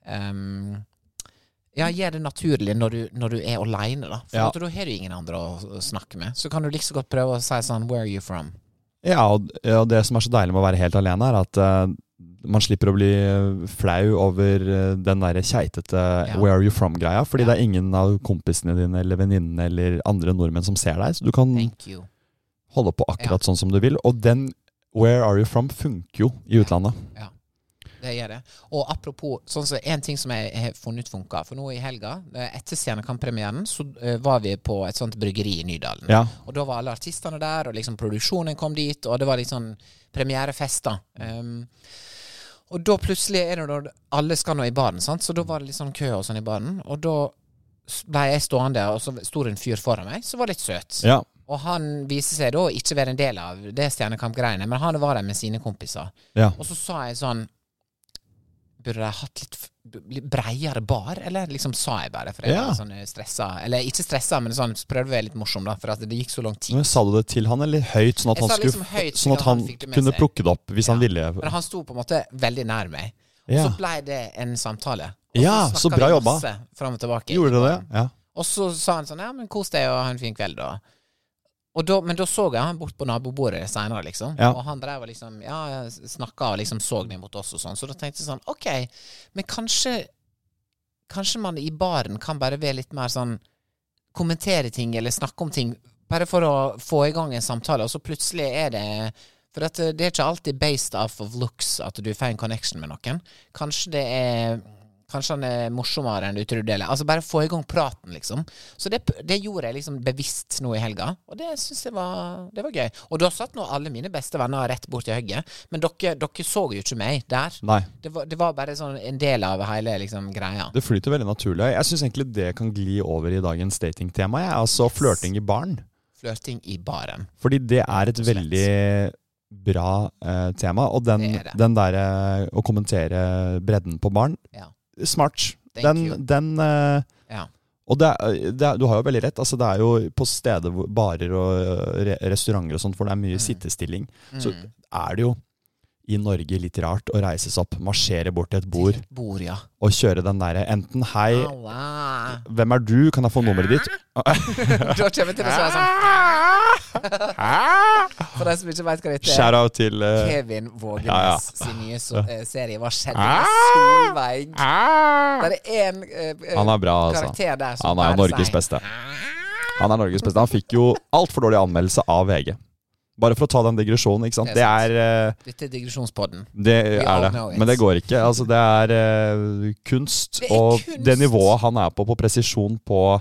Speaker 2: ehm, ja, gjør det naturlig når du, når du er aleine, da. For
Speaker 1: Ja.
Speaker 2: at da har du ingen andre å, å snakke med. Så kan du like så godt prøve å si sånn Where are you from?
Speaker 1: ja, og og det som er så deilig med å være helt alene, er at eh, man slipper å bli eh, flau over eh, den der keitete eh, 'where are you from'-greia. Fordi det er ingen av kompisene dine eller venninnene eller andre nordmenn som ser deg. Så du kan
Speaker 2: Thank you.
Speaker 1: holde på akkurat sånn som du vil. Og den 'where are you from' funker jo i utlandet.
Speaker 2: Ja, det gjør det. Og apropos, sånn som en ting som jeg har funnet ut funka. For nå i helga, eh, etter Scenekamp-premieren, så eh, var vi på et sånt bryggeri i Nydalen.
Speaker 1: Ja.
Speaker 2: Og da var alle artistene der, og liksom produksjonen kom dit, og det var liksom premierefest, da. Um, og da plutselig er det når alle skal nå i baren, sant? så da var det litt sånn kø og sånn i baren. Og da s- ble jeg stående, og så sto det en fyr foran meg som var litt søt.
Speaker 1: Ja.
Speaker 2: Og han viser seg da ikke være en del av det Stjernekamp-greiene, men han var der med sine kompiser.
Speaker 1: Ja.
Speaker 2: Og så sa jeg sånn Burde jeg hatt litt, f- litt breiere bar, eller? Liksom sa jeg bare, for jeg
Speaker 1: Ja.
Speaker 2: var sånn eh, stressa. Eller ikke stressa, men sånn, så prøvde jeg å være litt morsom, da, for at det gikk så lang tid.
Speaker 1: Men Sa du det til han, eller høyt, sånn at han,
Speaker 2: Jeg sa
Speaker 1: skulle,
Speaker 2: liksom høyt,
Speaker 1: sånn at han,
Speaker 2: fikk det med
Speaker 1: kunne
Speaker 2: seg.
Speaker 1: plukke det opp hvis han ville?
Speaker 2: Men han sto på en måte veldig nær meg. Og
Speaker 1: Ja.
Speaker 2: så blei det en samtale.
Speaker 1: Ja, så
Speaker 2: snakket
Speaker 1: bra
Speaker 2: vi
Speaker 1: jobba.
Speaker 2: masse Fram og tilbake.
Speaker 1: Gjorde du det? Ja.
Speaker 2: Og så sa han sånn Ja, men kos deg og ha en fin kveld, da. Og da, men da så jeg han bort på nabobordet seinere, liksom.
Speaker 1: Ja.
Speaker 2: Og han drev og liksom Ja, snakka og liksom så ned mot oss og sånn. Så da tenkte jeg sånn Ok, men kanskje Kanskje man i baren kan bare være litt mer sånn Kommentere ting eller snakke om ting bare for å få i gang en samtale, og så plutselig er det For at eh, det er ikke alltid based off of looks at du får en connection med noen. Kanskje det er Kanskje han er morsommere enn du trodde. Eller, altså bare få i gang praten, liksom. Så det, det gjorde jeg liksom bevisst nå i helga, og det syns jeg var, det var gøy. Og da satt nå alle mine beste venner rett borti høgget, men dere, dere så jo ikke meg der.
Speaker 1: Nei.
Speaker 2: Det var, det var bare sånn en del av hele liksom, greia.
Speaker 1: Det flyter veldig naturlig. Jeg syns egentlig det kan gli over i dagens datingtema. Jeg. Altså flørting i baren.
Speaker 2: Flørting i baren.
Speaker 1: Fordi det er et veldig bra eh, tema. Og den,
Speaker 2: Det er det.
Speaker 1: den derre å kommentere bredden på barn,
Speaker 2: Ja.
Speaker 1: smart.
Speaker 2: Thank you.
Speaker 1: den den eh,
Speaker 2: ja.
Speaker 1: Og det, er- eh, det, er- du har jo veldig rett. Altså det er jo på steder, hvor- barer og eh, re, restauranter og sånt, hvor det er mye
Speaker 2: Mm.
Speaker 1: sittestilling, så er det jo i Norge litt rart å reise seg opp, marsjere bort til et bord
Speaker 2: Bord, ja.
Speaker 1: og kjøre den derre enten hei,
Speaker 2: Halla.
Speaker 1: hvem er du, kan jeg få nummeret ditt?
Speaker 2: Da kommer jeg til å svare sånn. For de som ikke veit hva dette er.
Speaker 1: Shout-out til eh,
Speaker 2: Kevin Vågenes
Speaker 1: Ja, ja.
Speaker 2: sin nye so eh, serie Hva skjedde med Solveig? Der er en eh, eh,
Speaker 1: Han er bra, altså.
Speaker 2: karakter der som
Speaker 1: Han er jo
Speaker 2: bare
Speaker 1: Norges
Speaker 2: sier,
Speaker 1: beste. Han er Norges beste. Han fikk jo altfor dårlig anmeldelse av VG. Bare for å ta den digresjonen, ikke sant.
Speaker 2: Det
Speaker 1: Det
Speaker 2: er
Speaker 1: er, eh,
Speaker 2: Dette er digresjonspodden.
Speaker 1: det
Speaker 2: We
Speaker 1: er
Speaker 2: all
Speaker 1: det.
Speaker 2: know it.
Speaker 1: Men det går ikke. Altså, det er eh, kunst,
Speaker 2: Det er
Speaker 1: og
Speaker 2: kunst.
Speaker 1: det nivået han er på på presisjon på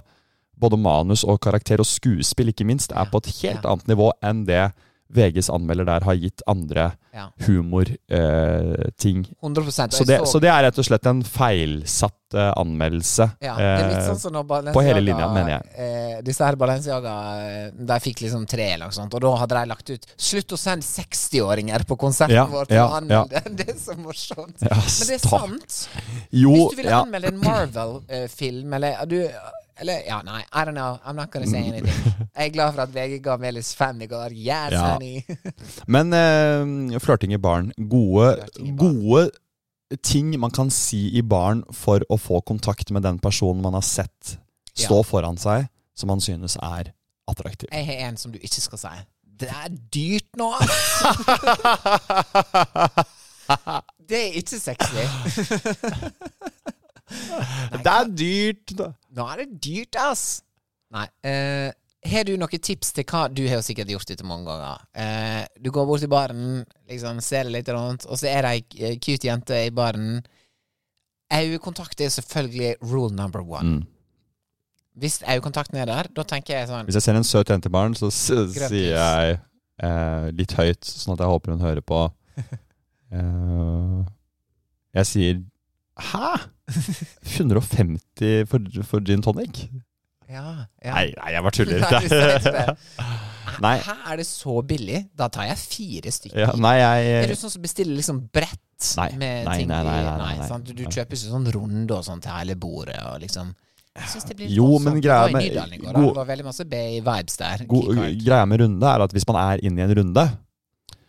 Speaker 1: både manus og karakter og skuespill, ikke minst, er på et helt
Speaker 2: Ja.
Speaker 1: annet nivå enn det VGs anmelder der har gitt andre
Speaker 2: Ja.
Speaker 1: humorting.
Speaker 2: 100 og
Speaker 1: så,
Speaker 2: jeg
Speaker 1: det, så det er rett og slett en feilsatt eh, anmeldelse.
Speaker 2: ja, det er litt
Speaker 1: eh,
Speaker 2: sånn som når Balenciaga
Speaker 1: på hele linja, mener jeg.
Speaker 2: Eh, disse her Balenciaga eh, De fikk liksom tre, eller noe sånt, og da hadde de lagt ut 'Slutt å sende 60-åringer på konserten
Speaker 1: Ja,
Speaker 2: vår'.
Speaker 1: ja, ja.
Speaker 2: for å anmelde». Det er så morsomt.
Speaker 1: Ja,
Speaker 2: Men det
Speaker 1: stakkars.
Speaker 2: er sant.
Speaker 1: Jo,
Speaker 2: Hvis du ville
Speaker 1: ja.
Speaker 2: anmelde en Marvel-film, eller du eller, ja, nei, I don't know. I'm not gonna say
Speaker 1: Mm.
Speaker 2: anything. Jeg er glad for at VG ga Melis fem i går. Yes,
Speaker 1: Ja.
Speaker 2: honey!
Speaker 1: Men eh, flørting i baren. Gode,
Speaker 2: Flørting i baren.
Speaker 1: gode ting man kan si i baren for å få kontakt med den personen man har sett stå
Speaker 2: Ja.
Speaker 1: foran seg, som man synes er attraktiv.
Speaker 2: Jeg har en som du ikke skal si. Det er dyrt nå! Det er ikke sexy.
Speaker 1: Det er dyrt! da.
Speaker 2: Nå er det dyrt, ass! Nei. eh, har du noen tips til hva Du har jo sikkert gjort dette mange ganger. Eh, du går bort til baren, liksom ser deg litt rundt, og så er det ei eh, cute jente i baren. Øyekontakt er selvfølgelig rule number one.
Speaker 1: Mm.
Speaker 2: Hvis øyekontakten er der, da tenker jeg sånn
Speaker 1: Hvis jeg ser en søt jente i baren, så s
Speaker 2: Grønn
Speaker 1: sier
Speaker 2: pils.
Speaker 1: jeg eh, litt høyt, sånn at jeg håper hun hører på eh, Jeg sier Hæ?! 150 for, for gin tonic?
Speaker 2: Ja, ja.
Speaker 1: Nei, nei, jeg bare
Speaker 2: Nei, du sier ikke
Speaker 1: tuller.
Speaker 2: det.
Speaker 1: Nei.
Speaker 2: Hæ, er det så billig? Da tar jeg fire stykker.
Speaker 1: Ja, nei,
Speaker 2: Ah, Er
Speaker 1: jeg
Speaker 2: du sånn som bestiller liksom brett
Speaker 1: Eh, Nei,
Speaker 2: med
Speaker 1: nei,
Speaker 2: ting
Speaker 1: nei,
Speaker 2: i-
Speaker 1: nei, nei, nei, nei.
Speaker 2: sant? Du, du kjøper ikke sånn runde og sånn til hele bordet og liksom Jeg synes det blir litt
Speaker 1: Jo,
Speaker 2: voldsomt.
Speaker 1: men
Speaker 2: Det
Speaker 1: greia
Speaker 2: var i
Speaker 1: med-
Speaker 2: Nydalen i går,
Speaker 1: god-
Speaker 2: Det var veldig masse Bay-vibes der.
Speaker 1: God,
Speaker 2: Keycard.
Speaker 1: greia med runde er at hvis man er inne i en runde,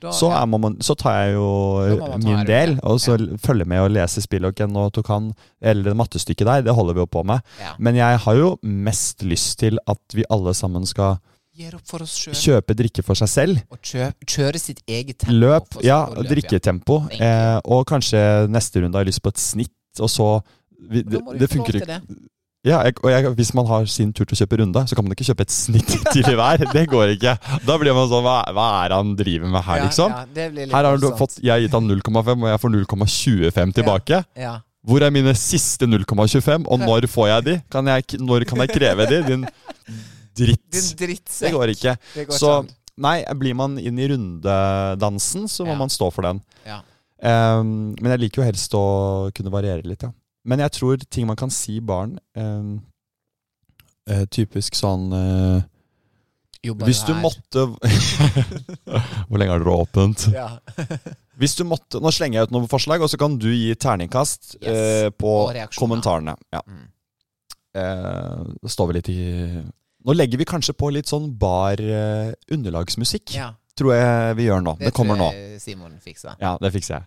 Speaker 2: Da-
Speaker 1: så, er man, så tar jeg
Speaker 2: Da
Speaker 1: jo
Speaker 2: må man ta
Speaker 1: min
Speaker 2: en runde,
Speaker 1: del, og så følger med og leser spill. Ok, nå tok han Eller det mattestykket der, det holder vi jo på med.
Speaker 2: ja.
Speaker 1: Men jeg har jo mest lyst til at vi alle sammen skal
Speaker 2: Gir opp for oss sjøl
Speaker 1: kjøpe drikke for seg selv.
Speaker 2: og kjø, kjøre sitt eget tempo.
Speaker 1: Løp,
Speaker 2: for-
Speaker 1: ja,
Speaker 2: for løp,
Speaker 1: drikketempo.
Speaker 2: Thank you.
Speaker 1: Eh, og kanskje neste runde har jeg lyst på et snitt, og så vi,
Speaker 2: Da
Speaker 1: det,
Speaker 2: må du
Speaker 1: det
Speaker 2: få lov
Speaker 1: funker
Speaker 2: til
Speaker 1: ikke.
Speaker 2: det.
Speaker 1: Ja, jeg, og jeg, Hvis man har sin tur til å kjøpe runde, så kan man ikke kjøpe et snitt til i hver. Det går ikke. Da blir man sånn Hva, hva er det han driver med her,
Speaker 2: Ja,
Speaker 1: liksom?
Speaker 2: ja, det blir litt
Speaker 1: Her har du
Speaker 2: voldsomt.
Speaker 1: fått, Jeg har gitt han 0,5, og jeg får 0,25 tilbake.
Speaker 2: ja.
Speaker 1: Hvor er mine siste 0,25, og når får jeg de? Kan jeg, k- når kan jeg kreve de? Din
Speaker 2: Din
Speaker 1: dritt. Det
Speaker 2: drittsekk.
Speaker 1: går ikke.
Speaker 2: Det går
Speaker 1: Så
Speaker 2: ikke an.
Speaker 1: nei, blir man inn i rundedansen, så må
Speaker 2: Ja.
Speaker 1: man stå for den.
Speaker 2: Ja.
Speaker 1: Ehm, men jeg liker jo helst å kunne variere litt, ja. Men jeg tror ting man kan si barn ehm, eh, Typisk sånn eh,
Speaker 2: Jobber
Speaker 1: Hvis du
Speaker 2: her.
Speaker 1: måtte Hvor lenge har dere åpent?
Speaker 2: ja.
Speaker 1: Hvis du måtte Nå slenger jeg ut noen forslag, og så kan du gi terningkast
Speaker 2: Yes.
Speaker 1: eh, på
Speaker 2: Og reaksjoner.
Speaker 1: kommentarene. Ja.
Speaker 2: Mm.
Speaker 1: Eh, da står vi litt i Nå legger vi kanskje på litt sånn bar eh, underlagsmusikk,
Speaker 2: ja.
Speaker 1: tror jeg vi gjør nå. Det, kommer nå.
Speaker 2: tror jeg Simon fikser.
Speaker 1: Ja, det fikser jeg.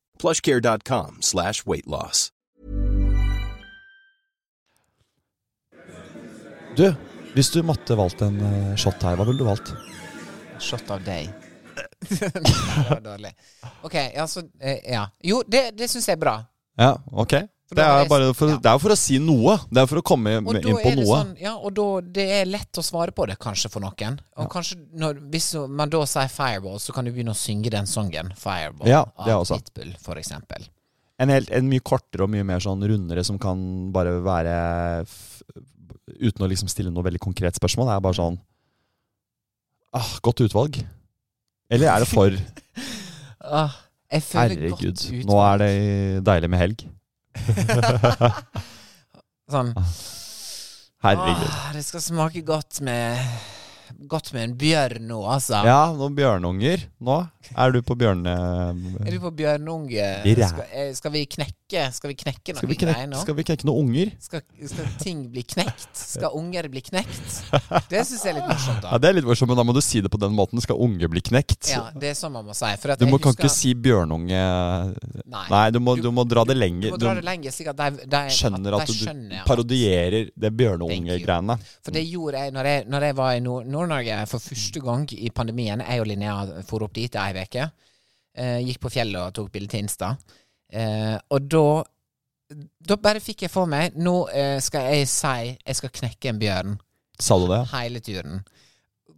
Speaker 3: plushcare.com slash weight loss.
Speaker 1: Du, hvis du måtte valgt en eh, shot her, hva ville du valgt?
Speaker 2: Shot of day. det var dårlig. Ok, ja, så eh, Ja. Jo, det, det syns jeg er bra.
Speaker 1: Ja, ok.
Speaker 2: For
Speaker 1: Det
Speaker 2: da har
Speaker 1: er,
Speaker 2: jeg-
Speaker 1: bare for,
Speaker 2: ja.
Speaker 1: det er jo for å si noe. Det er for å komme
Speaker 2: Og
Speaker 1: med-
Speaker 2: da
Speaker 1: inn på
Speaker 2: er det
Speaker 1: noe.
Speaker 2: sånn Ja, og da det er lett å svare på det, kanskje, for noen. Og kanskje når, Hvis man da sier Fireball, så kan du begynne å synge den sangen, Fireball,
Speaker 1: Ja, det
Speaker 2: av
Speaker 1: også.
Speaker 2: Pitbull, for eksempel.
Speaker 1: En, helt, en mye kortere og mye mer sånn rundere som kan bare være f Uten å liksom stille noe veldig konkret spørsmål. Det er bare sånn ah, Godt utvalg. Eller er det for
Speaker 2: Åh, Ah, jeg føler
Speaker 1: Herregud,
Speaker 2: godt ut.
Speaker 1: nå er det deilig med helg.
Speaker 2: Sånn.
Speaker 1: Herregud.
Speaker 2: Åh, det skal smake godt med Godt med en bjørn nå, altså.
Speaker 1: Ja, noen bjørnunger. Nå er du på bjørne...
Speaker 2: Er du på bjørnunge?
Speaker 1: Irre.
Speaker 2: Skal, eh, skal vi knekke Skal vi knekke noen
Speaker 1: Skal vi
Speaker 2: greier
Speaker 1: knekke,
Speaker 2: nå?
Speaker 1: skal vi knekke noen unger?
Speaker 2: Skal, skal ting bli knekt? Skal unger bli knekt? Det syns jeg er litt morsomt,
Speaker 1: Ja,
Speaker 2: da.
Speaker 1: Det er litt morsomt, men da må du si det på den måten. Skal unge bli knekt?
Speaker 2: Ja, det er sånn man må si. For at
Speaker 1: Du
Speaker 2: jeg
Speaker 1: må, kan
Speaker 2: husker-
Speaker 1: ikke si bjørnunge
Speaker 2: Nei.
Speaker 1: Nei, du må,
Speaker 2: Du-
Speaker 1: du må dra det
Speaker 2: Du
Speaker 1: lenger.
Speaker 2: må
Speaker 1: Du
Speaker 2: dra det lenger, slik at de, de
Speaker 1: skjønner at
Speaker 2: de
Speaker 1: du
Speaker 2: skjønner at-
Speaker 1: parodierer det bjørneunge-greiene.
Speaker 2: For det gjorde jeg når jeg, når jeg var i Nord- Nord-Norge for første gang i pandemien. Jeg og Linnea for opp dit ei uke. Eh, gikk på fjellet og tok bilde til Insta. Eh, og da da bare fikk jeg for meg Nå eh, skal jeg si jeg skal knekke en bjørn
Speaker 1: Sa du det?
Speaker 2: hele turen.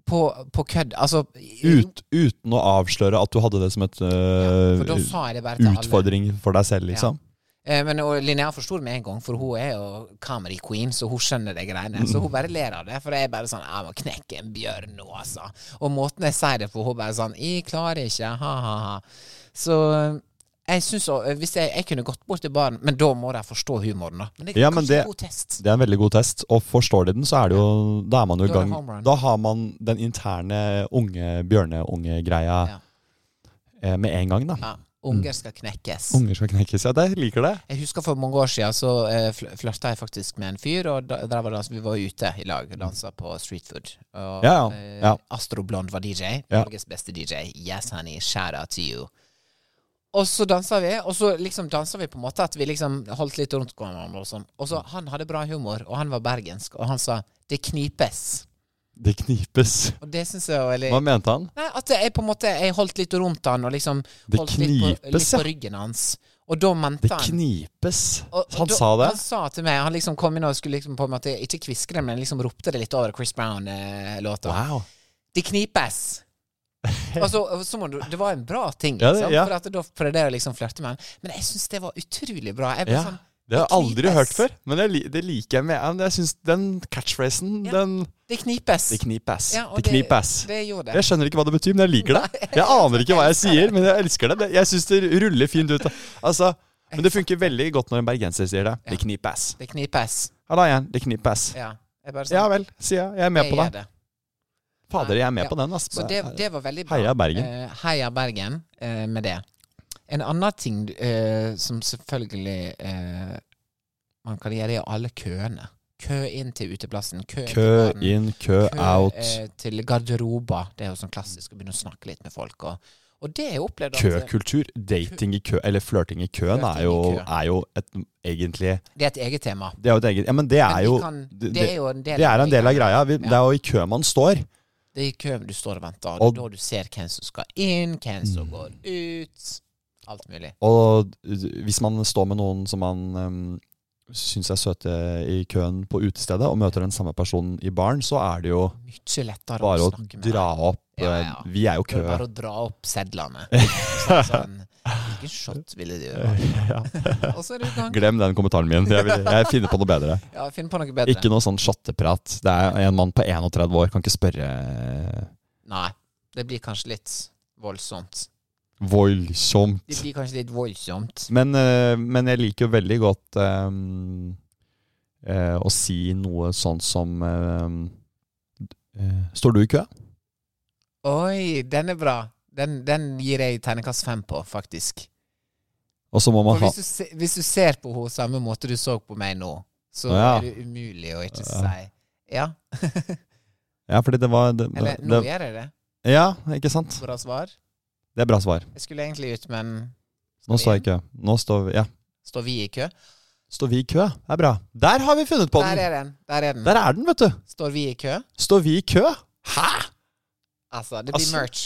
Speaker 2: På, på kødd. Altså i-
Speaker 1: Ut, uten å avsløre at du hadde det som et øh,
Speaker 2: For da sa jeg det bare til alle.
Speaker 1: utfordring for deg selv, liksom.
Speaker 2: Eh, Men og Linnea forsto det med en gang, for hun er jo comedy queen, så hun skjønner de greiene. Så hun bare ler av det, for jeg er bare sånn Jeg må knekke en bjørn nå, altså. Og måten jeg sier det på, hun bare sånn Jeg klarer ikke, ha-ha-ha. Så jeg syns også eh, Hvis jeg, jeg kunne gått bort til baren Men da må de forstå humoren, da. Men det er
Speaker 1: Ja, men
Speaker 2: kanskje
Speaker 1: det-
Speaker 2: en god test.
Speaker 1: Det er en veldig god test, og forstår de den, så er det jo Da er man jo i
Speaker 2: Da er det
Speaker 1: gang.
Speaker 2: home run.
Speaker 1: Da har man den interne unge bjørneunge-greia
Speaker 2: Ja.
Speaker 1: eh, med en gang, da.
Speaker 2: Ja, unger skal knekkes.
Speaker 1: Unger skal knekkes. Ja, jeg liker det.
Speaker 2: Jeg husker for mange år siden så eh, fl- flørta jeg faktisk med en fyr, og da, der var det, altså- vi var ute i lag og dansa på street food. Og,
Speaker 1: Ja, ja,
Speaker 2: eh,
Speaker 1: ja.
Speaker 2: Astro Blond var DJ.
Speaker 1: Ja.
Speaker 2: Norges beste DJ. Yes, honey. Shout out to you. Og så dansa vi, og så liksom dansa vi på en måte at vi liksom holdt litt rundt hverandre og sånn. Og så han hadde bra humor, og han var bergensk, og han sa 'det knipes'.
Speaker 1: Det knipes.
Speaker 2: Og det syns jeg jo er litt-
Speaker 1: Hva mente han?
Speaker 2: Nei, at jeg på en måte Jeg holdt litt rundt han, og liksom
Speaker 1: Det
Speaker 2: holdt litt på, litt
Speaker 1: knipes, ja.
Speaker 2: på ryggen hans. Og da mente
Speaker 1: Det
Speaker 2: han
Speaker 1: knipes.
Speaker 2: og- og
Speaker 1: Han
Speaker 2: da-
Speaker 1: sa det?
Speaker 2: Han sa til meg Han liksom kom inn og skulle liksom på en måte Ikke kviskre det, men liksom ropte det litt over Chris Brown-låta.
Speaker 1: Wow.
Speaker 2: Det knipes! altså, som om du- det var en bra ting,
Speaker 1: Ja, det-
Speaker 2: liksom.
Speaker 1: ja.
Speaker 2: For at da prøvde jeg å liksom flørte med han. Men jeg syns det var utrolig bra. Jeg ble
Speaker 1: Ja.
Speaker 2: sånn
Speaker 1: Det har jeg aldri
Speaker 2: knipes.
Speaker 1: hørt før, men jeg, li- det liker jeg med ja, men Jeg syns den catchphrasen,
Speaker 2: Ja.
Speaker 1: den
Speaker 2: Det knipes!
Speaker 1: Det knipes.
Speaker 2: Ja, og
Speaker 1: det knipes.
Speaker 2: Det, det gjorde
Speaker 1: Jeg skjønner ikke hva det betyr, men jeg liker det. Jeg aner ikke hva jeg sier, men jeg elsker det. det. Jeg syns det ruller fint ut. Altså, men det funker veldig godt når en bergenser sier det. Det knipes.
Speaker 2: Det knipes.
Speaker 1: Halla igjen, det knipes.
Speaker 2: Ja. Jeg bare sånn,
Speaker 1: Ja vel, sier jeg. Jeg er med
Speaker 2: jeg
Speaker 1: på det.
Speaker 2: gjør det.
Speaker 1: Fader, jeg er med
Speaker 2: Ja.
Speaker 1: på den. ass.
Speaker 2: Så det, det var veldig bra.
Speaker 1: Heia Bergen.
Speaker 2: Eh, heia Bergen eh, med det. En annen ting eh, som selvfølgelig eh, man kan gjøre, er alle køene. Kø inn til uteplassen. Kø,
Speaker 1: Kø
Speaker 2: til baren,
Speaker 1: inn, kø
Speaker 2: kø,
Speaker 1: out.
Speaker 2: eh, til garderober. Det er jo sånn klassisk å begynne å snakke litt med folk. Og, og det har jeg opplevd. at-
Speaker 1: Køkultur, dating i kø, eller flørting i køen,
Speaker 2: Flørting
Speaker 1: er
Speaker 2: i
Speaker 1: jo,
Speaker 2: kø.
Speaker 1: er jo et, egentlig
Speaker 2: Det er et eget tema.
Speaker 1: Det er jo et eget Ja, men det er
Speaker 2: Men vi
Speaker 1: jo
Speaker 2: kan-
Speaker 1: det-
Speaker 2: det er jo en del
Speaker 1: det er
Speaker 2: av
Speaker 1: en del av greia. Vi,
Speaker 2: Ja.
Speaker 1: Det er jo i kø man står.
Speaker 2: Det er i køen du står og venter, og,
Speaker 1: Og- Mm.
Speaker 2: da du ser hvem som skal inn, hvem som går ut. Alt mulig.
Speaker 1: Og hvis man står med noen som man um, syns er søte i køen på utestedet, og møter den samme personen i baren, så er det jo
Speaker 2: Mye lettere
Speaker 1: bare
Speaker 2: å
Speaker 1: å
Speaker 2: snakke med.
Speaker 1: dra opp.
Speaker 2: Ja, ja.
Speaker 1: eh, Vi er jo
Speaker 2: Det
Speaker 1: kø.
Speaker 2: er bare å dra opp sedlene. Sånn, sånn, Hvilken shot ville du gjøre? Og så er du i gang.
Speaker 1: Glem den kommentaren min. Jeg, vil, jeg finner på noe bedre.
Speaker 2: Ja, finn på noe bedre.
Speaker 1: Ikke noe sånn sjatteprat. Det er en mann på 31 år, kan ikke spørre eh,
Speaker 2: Nei, det blir kanskje litt voldsomt. Det
Speaker 1: voldsomt.
Speaker 2: blir kanskje litt voldsomt.
Speaker 1: Men, eh, men jeg liker jo veldig godt eh, eh, å si noe sånn som eh, eh, Står du i kø?
Speaker 2: Oi, den er bra. Den, den gir jeg terningkast fem på, faktisk.
Speaker 1: Og så må man
Speaker 2: For
Speaker 1: ha
Speaker 2: hvis du, se, hvis du ser på henne samme måte du så på meg nå, så
Speaker 1: Å, ja.
Speaker 2: er det umulig å ikke
Speaker 1: Ja.
Speaker 2: si ja.
Speaker 1: Ja, fordi det var det,
Speaker 2: Eller
Speaker 1: det,
Speaker 2: nå
Speaker 1: det,
Speaker 2: gjør jeg det.
Speaker 1: Ja, ikke sant?
Speaker 2: Bra svar.
Speaker 1: Det er bra svar.
Speaker 2: Jeg skulle egentlig ut, men
Speaker 1: Nå
Speaker 2: Skal
Speaker 1: står
Speaker 2: vi
Speaker 1: jeg i kø. Nå står vi, ja.
Speaker 2: står vi i kø?
Speaker 1: står vi i kø. Det er bra. Der har vi funnet på
Speaker 2: Der
Speaker 1: den!
Speaker 2: er den. Der er den.
Speaker 1: Der er den, vet du.
Speaker 2: Står vi i kø?
Speaker 1: Står vi i kø? Hæ?!
Speaker 2: Altså, det blir
Speaker 1: Altså-
Speaker 2: merch.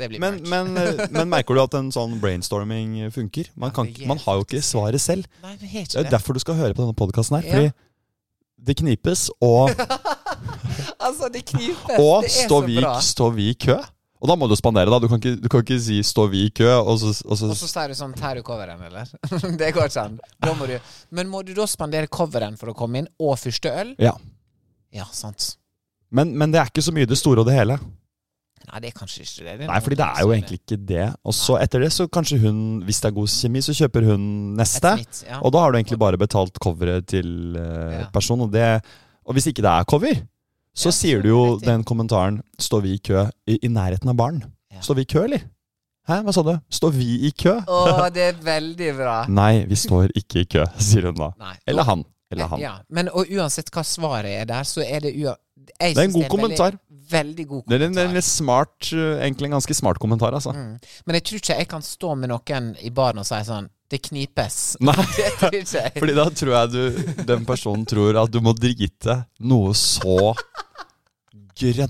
Speaker 2: Det blir
Speaker 1: Men,
Speaker 2: merch.
Speaker 1: men, eh, men merker du at en sånn brainstorming funker? Man, kan,
Speaker 2: Ja, det
Speaker 1: ikke- man har jo ikke svaret selv.
Speaker 2: Nei, det er
Speaker 1: Det
Speaker 2: ikke
Speaker 1: er
Speaker 2: det.
Speaker 1: derfor du skal høre på denne podkasten her.
Speaker 2: Ja.
Speaker 1: Fordi det knipes, og,
Speaker 2: Altså, det knipes.
Speaker 1: og
Speaker 2: det er
Speaker 1: står,
Speaker 2: så
Speaker 1: vi,
Speaker 2: bra.
Speaker 1: står vi i kø? Og da må du spandere, da. Du kan ikke, du kan ikke si 'står vi i kø', og så, og så,
Speaker 2: Og så sier du sånn Tær du coveren, eller? det går ikke an. Da må du Men må du da spandere coveren for å komme inn, og første øl?
Speaker 1: Ja.
Speaker 2: Ja, sant.
Speaker 1: Men, men det er ikke så mye det store og det hele.
Speaker 2: Nei, det er kanskje ikke det.
Speaker 1: Nei, fordi det er jo egentlig ikke det. Og så etter det, så kanskje hun, hvis det er god kjemi, så kjøper hun neste.
Speaker 2: Et snitt, ja.
Speaker 1: Og da har du egentlig bare betalt coveret til uh,
Speaker 2: Ja.
Speaker 1: personen. Og, det, og hvis ikke det er cover, så
Speaker 2: Ja, så
Speaker 1: sier
Speaker 2: er
Speaker 1: du jo
Speaker 2: det riktig.
Speaker 1: den kommentaren 'Står vi i kø i, i nærheten av baren?'
Speaker 2: Ja.
Speaker 1: Står vi i kø, eller? Hæ, hva sa du? Står vi i kø?
Speaker 2: Å, det er veldig bra.
Speaker 1: Nei, vi står ikke i kø, sier hun da.
Speaker 2: Nei. Eh,
Speaker 1: Eller han. Eller han.
Speaker 2: Ja, men og uansett hva svaret er der, så er det ua... Jeg
Speaker 1: Det er en
Speaker 2: synes
Speaker 1: god
Speaker 2: veldig-
Speaker 1: kommentar.
Speaker 2: Veldig god
Speaker 1: Det er en,
Speaker 2: kommentar. Mm.
Speaker 1: en litt smart, uh, egentlig en ganske smart kommentar, altså.
Speaker 2: Men jeg tror ikke jeg kan stå med noen i baren og si sånn Det knipes.
Speaker 1: Nei.
Speaker 2: Det tror ikke jeg.
Speaker 1: Fordi da tror jeg du, den personen tror at du må drite noe så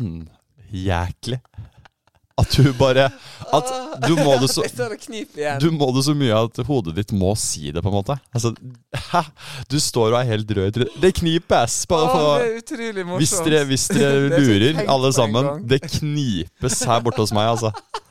Speaker 1: grønnjæklig at du bare At du må det så
Speaker 2: Jeg står og kniper igjen.
Speaker 1: du må det så mye at hodet ditt må si det, på en måte. Altså, hæ? Du står og er helt rød i trynet. Det knipes! Bare
Speaker 2: Å, det
Speaker 1: for
Speaker 2: er utrolig
Speaker 1: hvis
Speaker 2: morsomt.
Speaker 1: dere, hvis dere
Speaker 2: Det har jeg ikke
Speaker 1: lurer,
Speaker 2: tenkt på
Speaker 1: alle
Speaker 2: en
Speaker 1: sammen.
Speaker 2: gang.
Speaker 1: Det knipes her borte hos meg, altså.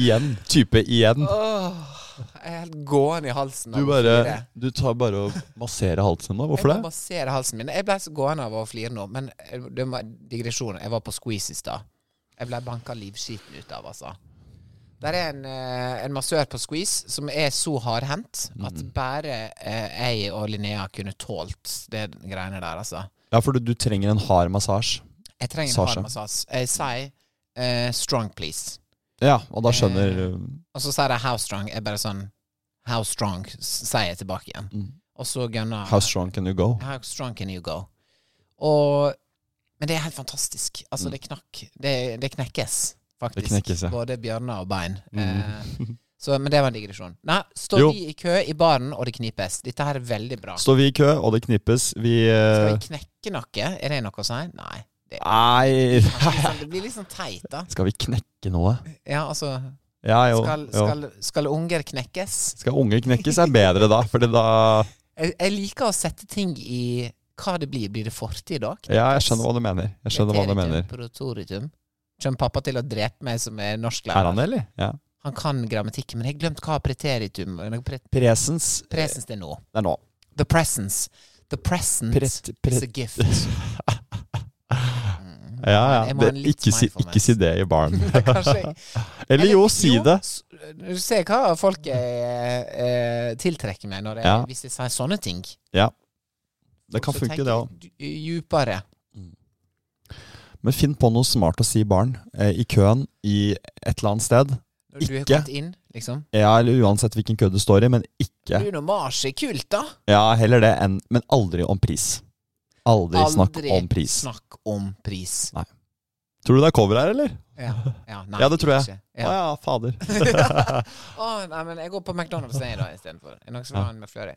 Speaker 1: Igjen. Type igjen.
Speaker 2: Jeg er helt gående i halsen.
Speaker 1: Du
Speaker 2: av å
Speaker 1: bare
Speaker 2: flire.
Speaker 1: Du tar bare og masserer halsen nå. Hvorfor det?
Speaker 2: Jeg må massere halsen min. Jeg ble så gående av å flire nå, men eh, det var digresjon. Jeg var på squeeze i stad. Jeg ble banka livskiten ut av, altså. Der er en, eh, en massør på squeeze som er så hardhendt at
Speaker 1: Mhm.
Speaker 2: bare eh, jeg og Linnea kunne tålt det greiene der, altså.
Speaker 1: Ja, for du, du trenger en hard massasje.
Speaker 2: Jeg trenger en
Speaker 1: Sasha.
Speaker 2: hard massasje. Jeg sier eh, strong, please.
Speaker 1: Ja, og da skjønner eh,
Speaker 2: Og så sier jeg how strong. Jeg bare sånn How strong, s- sier jeg tilbake igjen. Og så gunner
Speaker 1: uh, Mm. How strong can you go?
Speaker 2: How strong can you go? Og, men det er helt fantastisk. Altså, det knakk. Det, det knekkes, faktisk.
Speaker 1: Mm. Det knekkes, ja. Mm.
Speaker 2: Både bjørner og bein. Eh, så, men det var en digresjon. Nei, står
Speaker 1: Jo.
Speaker 2: vi i kø i baren, og det knipes. Dette her er veldig bra.
Speaker 1: Står vi i kø, og det knippes. Vi
Speaker 2: Skal
Speaker 1: eh,
Speaker 2: vi knekke noe? Er det noe å si? Nei. Det,
Speaker 1: Nei
Speaker 2: liksom, det blir litt sånn teit, da.
Speaker 1: Skal vi knekke noe?
Speaker 2: Ja, altså
Speaker 1: Ja, jo.
Speaker 2: Skal,
Speaker 1: jo.
Speaker 2: skal, skal unger knekkes?
Speaker 1: Skal unger knekkes er bedre da, for da
Speaker 2: Jeg, jeg liker å sette ting i hva det blir. Blir det fortid da?
Speaker 1: Ja, jeg skjønner hva du mener. Jeg skjønner hva du mener.
Speaker 2: Preteritum, Kommer pappa til å drepe meg som er
Speaker 1: Er
Speaker 2: norsklærer?
Speaker 1: han det, eller? Ja.
Speaker 2: Han kan grammatikken, men jeg har glemt hva preteritum pre
Speaker 1: Eh. Presens
Speaker 2: Presens det er nå.
Speaker 1: Det er nå.
Speaker 2: The presence. The present
Speaker 1: Pret- pret-
Speaker 2: is a gift.
Speaker 1: Ja, ja.
Speaker 2: Jeg må ha
Speaker 1: Det,
Speaker 2: en litt
Speaker 1: ikke, si, ikke
Speaker 2: mindfulness.
Speaker 1: si det i baren.
Speaker 2: Kanskje jeg-
Speaker 1: Eller jo, si det.
Speaker 2: s- Du ser hva folk eh, eh, tiltrekker meg når jeg,
Speaker 1: Ja.
Speaker 2: hvis jeg sier sånne ting.
Speaker 1: Ja. Det kan
Speaker 2: Så
Speaker 1: funke,
Speaker 2: tenker
Speaker 1: det òg.
Speaker 2: jeg d- Djupere.
Speaker 1: Men finn på noe smart å si i baren. Eh, I køen, i et eller annet sted.
Speaker 2: Når du har
Speaker 1: Ikke.
Speaker 2: kommet inn, liksom.
Speaker 1: Ja, eller uansett hvilken kø du står i, men ikke
Speaker 2: Bruno Mars er kult, da!
Speaker 1: Ja, heller det enn Men aldri om pris. Aldri, snakk om pris.
Speaker 2: snakk om pris.
Speaker 1: Tror du det er cover her, eller?
Speaker 2: Ja, ja, nei,
Speaker 1: Ja, det tror jeg.
Speaker 2: ikke.
Speaker 1: Å ja, fader.
Speaker 2: Å, nei, men jeg går på McDonald's jeg, da istedenfor. Er det noen som vil ha en med fløte?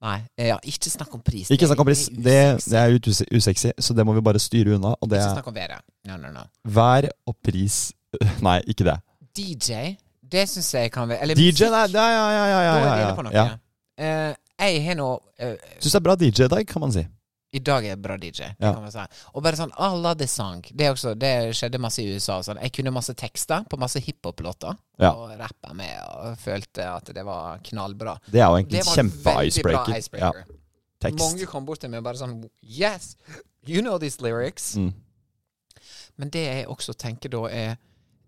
Speaker 2: Nei, eh, ja, ikke snakk om pris.
Speaker 1: Ikke snakk om pris. Det, det
Speaker 2: usexy.
Speaker 1: er jo use- usexy, så det må vi bare styre unna. Og det
Speaker 2: Ikke
Speaker 1: er
Speaker 2: snakk om været. No, no, no.
Speaker 1: vær og pris Nei, ikke det.
Speaker 2: DJ, det syns jeg kan være Eller
Speaker 1: DJ, nei,
Speaker 2: musikk.
Speaker 1: nei, ja, ja, ja.
Speaker 2: Da
Speaker 1: ja,
Speaker 2: er
Speaker 1: ja,
Speaker 2: vi
Speaker 1: ja.
Speaker 2: inne på noe.
Speaker 1: ja.
Speaker 2: Eh, jeg har nå eh,
Speaker 1: Syns det er bra DJ i dag, kan man si.
Speaker 2: I dag er jeg bra DJ. det
Speaker 1: Ja.
Speaker 2: Kan man si. Og bare sånn I love this song. Det, er også, det skjedde masse i USA. og Sånn. Jeg kunne masse tekster på masse hiphop-låter.
Speaker 1: Ja.
Speaker 2: Og rappa med og følte at det var knallbra.
Speaker 1: Det er jo egentlig
Speaker 2: Det var en veldig bra
Speaker 1: kjempe-icebreaker. Ja,
Speaker 2: icebreaker. Mange
Speaker 1: tekst.
Speaker 2: kom bort til meg og bare sånn Yes, you know these lyrics.
Speaker 1: Mm.
Speaker 2: Men det jeg også tenker da, er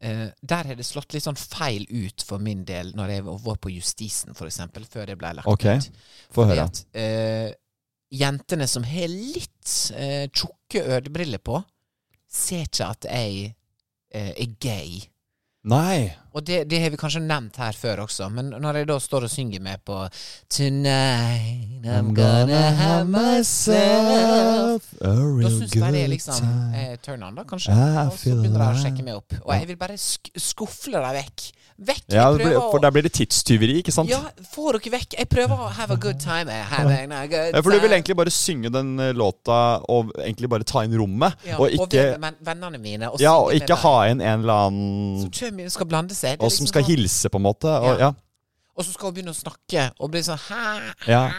Speaker 2: eh, Der har det slått litt sånn feil ut for min del når jeg var på Justisen, for eksempel, før det ble lagt
Speaker 1: Ok,
Speaker 2: ut.
Speaker 1: Få
Speaker 2: Fordi
Speaker 1: høre.
Speaker 2: at, eh, jentene som har litt eh, tjukke ørebriller på, ser ikke at jeg eh, er gay.
Speaker 1: Nei.
Speaker 2: Og det, det har vi kanskje nevnt her før også, men når jeg da står og synger med på Tonight I'm gonna have myself
Speaker 1: a
Speaker 2: Da
Speaker 1: real
Speaker 2: syns jeg det er
Speaker 1: good
Speaker 2: liksom
Speaker 1: time.
Speaker 2: eh, turn on, da, kanskje.
Speaker 1: I
Speaker 2: Og så
Speaker 1: Ah, feel
Speaker 2: begynner de å
Speaker 1: alive.
Speaker 2: sjekke meg opp. Og jeg vil bare sk skufle dem vekk. Vekk!
Speaker 1: Ja,
Speaker 2: Jeg
Speaker 1: det blir-
Speaker 2: prøver
Speaker 1: for
Speaker 2: å
Speaker 1: der blir det tidstyveri, ikke sant?
Speaker 2: Ja, få dere vekk. Jeg prøver å have a good time. I'm having a good
Speaker 1: Ja, for du vil
Speaker 2: time.
Speaker 1: egentlig bare synge den eh, låta og egentlig bare ta inn rommet,
Speaker 2: Ja,
Speaker 1: og
Speaker 2: ven-
Speaker 1: ikke,
Speaker 2: men- vennene mine. Og
Speaker 1: ja, og
Speaker 2: synge med
Speaker 1: ikke
Speaker 2: dem.
Speaker 1: ha inn en eller annen
Speaker 2: Som kommer og skal blande seg. Det er
Speaker 1: Og som
Speaker 2: liksom
Speaker 1: skal
Speaker 2: sånn-
Speaker 1: hilse, på en måte. Og, ja.
Speaker 2: Ja. Og så skal hun begynne å snakke, og bli sånn Hæ?
Speaker 1: Ja.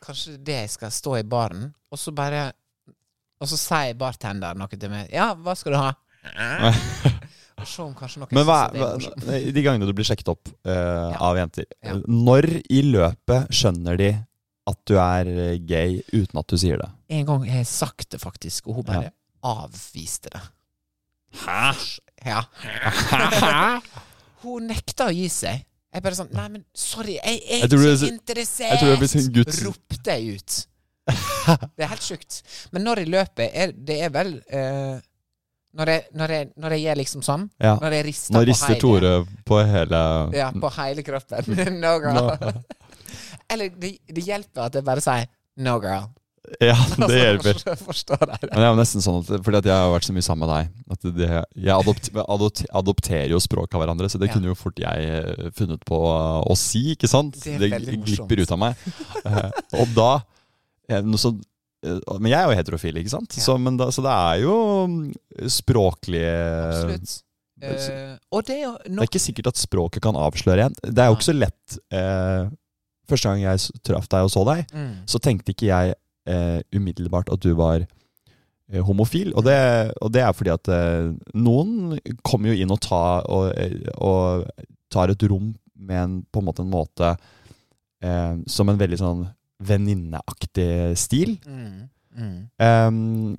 Speaker 2: Kanskje det jeg skal stå i baren, og så bare Og så sier bartender noe til meg. Ja, hva skal du ha? Og se om kanskje noen
Speaker 1: Men hva,
Speaker 2: synes at det
Speaker 1: hva,
Speaker 2: er morsomt.
Speaker 1: de gangene du blir sjekket opp eh, av jenter,
Speaker 2: Ja.
Speaker 1: når i løpet skjønner de at du er eh, gay uten at du sier det?
Speaker 2: En gang har jeg sagt det faktisk, og hun bare
Speaker 1: Ja.
Speaker 2: avviste det.
Speaker 1: Hæ?
Speaker 2: Ja. Hun nekta å gi seg. Jeg bare sånn Nei, men sorry, jeg er
Speaker 1: Jeg tror
Speaker 2: ikke
Speaker 1: det er-
Speaker 2: interessert!
Speaker 1: jeg tror det blir sånn Guds-
Speaker 2: Ropte jeg ut. Det er helt sjukt. Men når jeg løper, er, det er vel eh, når, jeg, når, jeg, når jeg gjør liksom sånn
Speaker 1: Ja.
Speaker 2: Når jeg rister
Speaker 1: Nå
Speaker 2: på
Speaker 1: rister
Speaker 2: hele-
Speaker 1: Tore på hele
Speaker 2: Ja, på hele kroppen. no girl.
Speaker 1: Nå-
Speaker 2: Eller det, det hjelper at jeg bare sier no girl.
Speaker 1: Ja, det hjelper.
Speaker 2: Forstår jeg det.
Speaker 1: Men det er jo nesten sånn at, Fordi at jeg har vært så mye sammen med deg. At det, jeg adopt, adopt, adopterer jo språk av hverandre, så det
Speaker 2: Ja.
Speaker 1: kunne jo fort jeg eh, funnet på å si. ikke sant?
Speaker 2: Det er
Speaker 1: Det,
Speaker 2: veldig morsomt.
Speaker 1: glipper ut av meg. Eh, og da eh, noe sånn, eh, Men jeg er jo heterofil, ikke sant? Så, men da, så det er jo mm, språklige
Speaker 2: Absolutt. Eh, og det er jo
Speaker 1: Det
Speaker 2: nok
Speaker 1: er ikke sikkert at språket kan avsløre en. Det er jo ikke så lett. eh, første gang jeg s- traff deg og så deg,
Speaker 2: Mm.
Speaker 1: så tenkte ikke jeg eh, umiddelbart at du var eh, homofil. Og det, og det er fordi at eh, noen kommer jo inn og, ta, og, eh, og tar et rom med en, på en måte, en måte eh, som en veldig sånn venninneaktig stil.
Speaker 2: Mm. Mm.
Speaker 1: eh,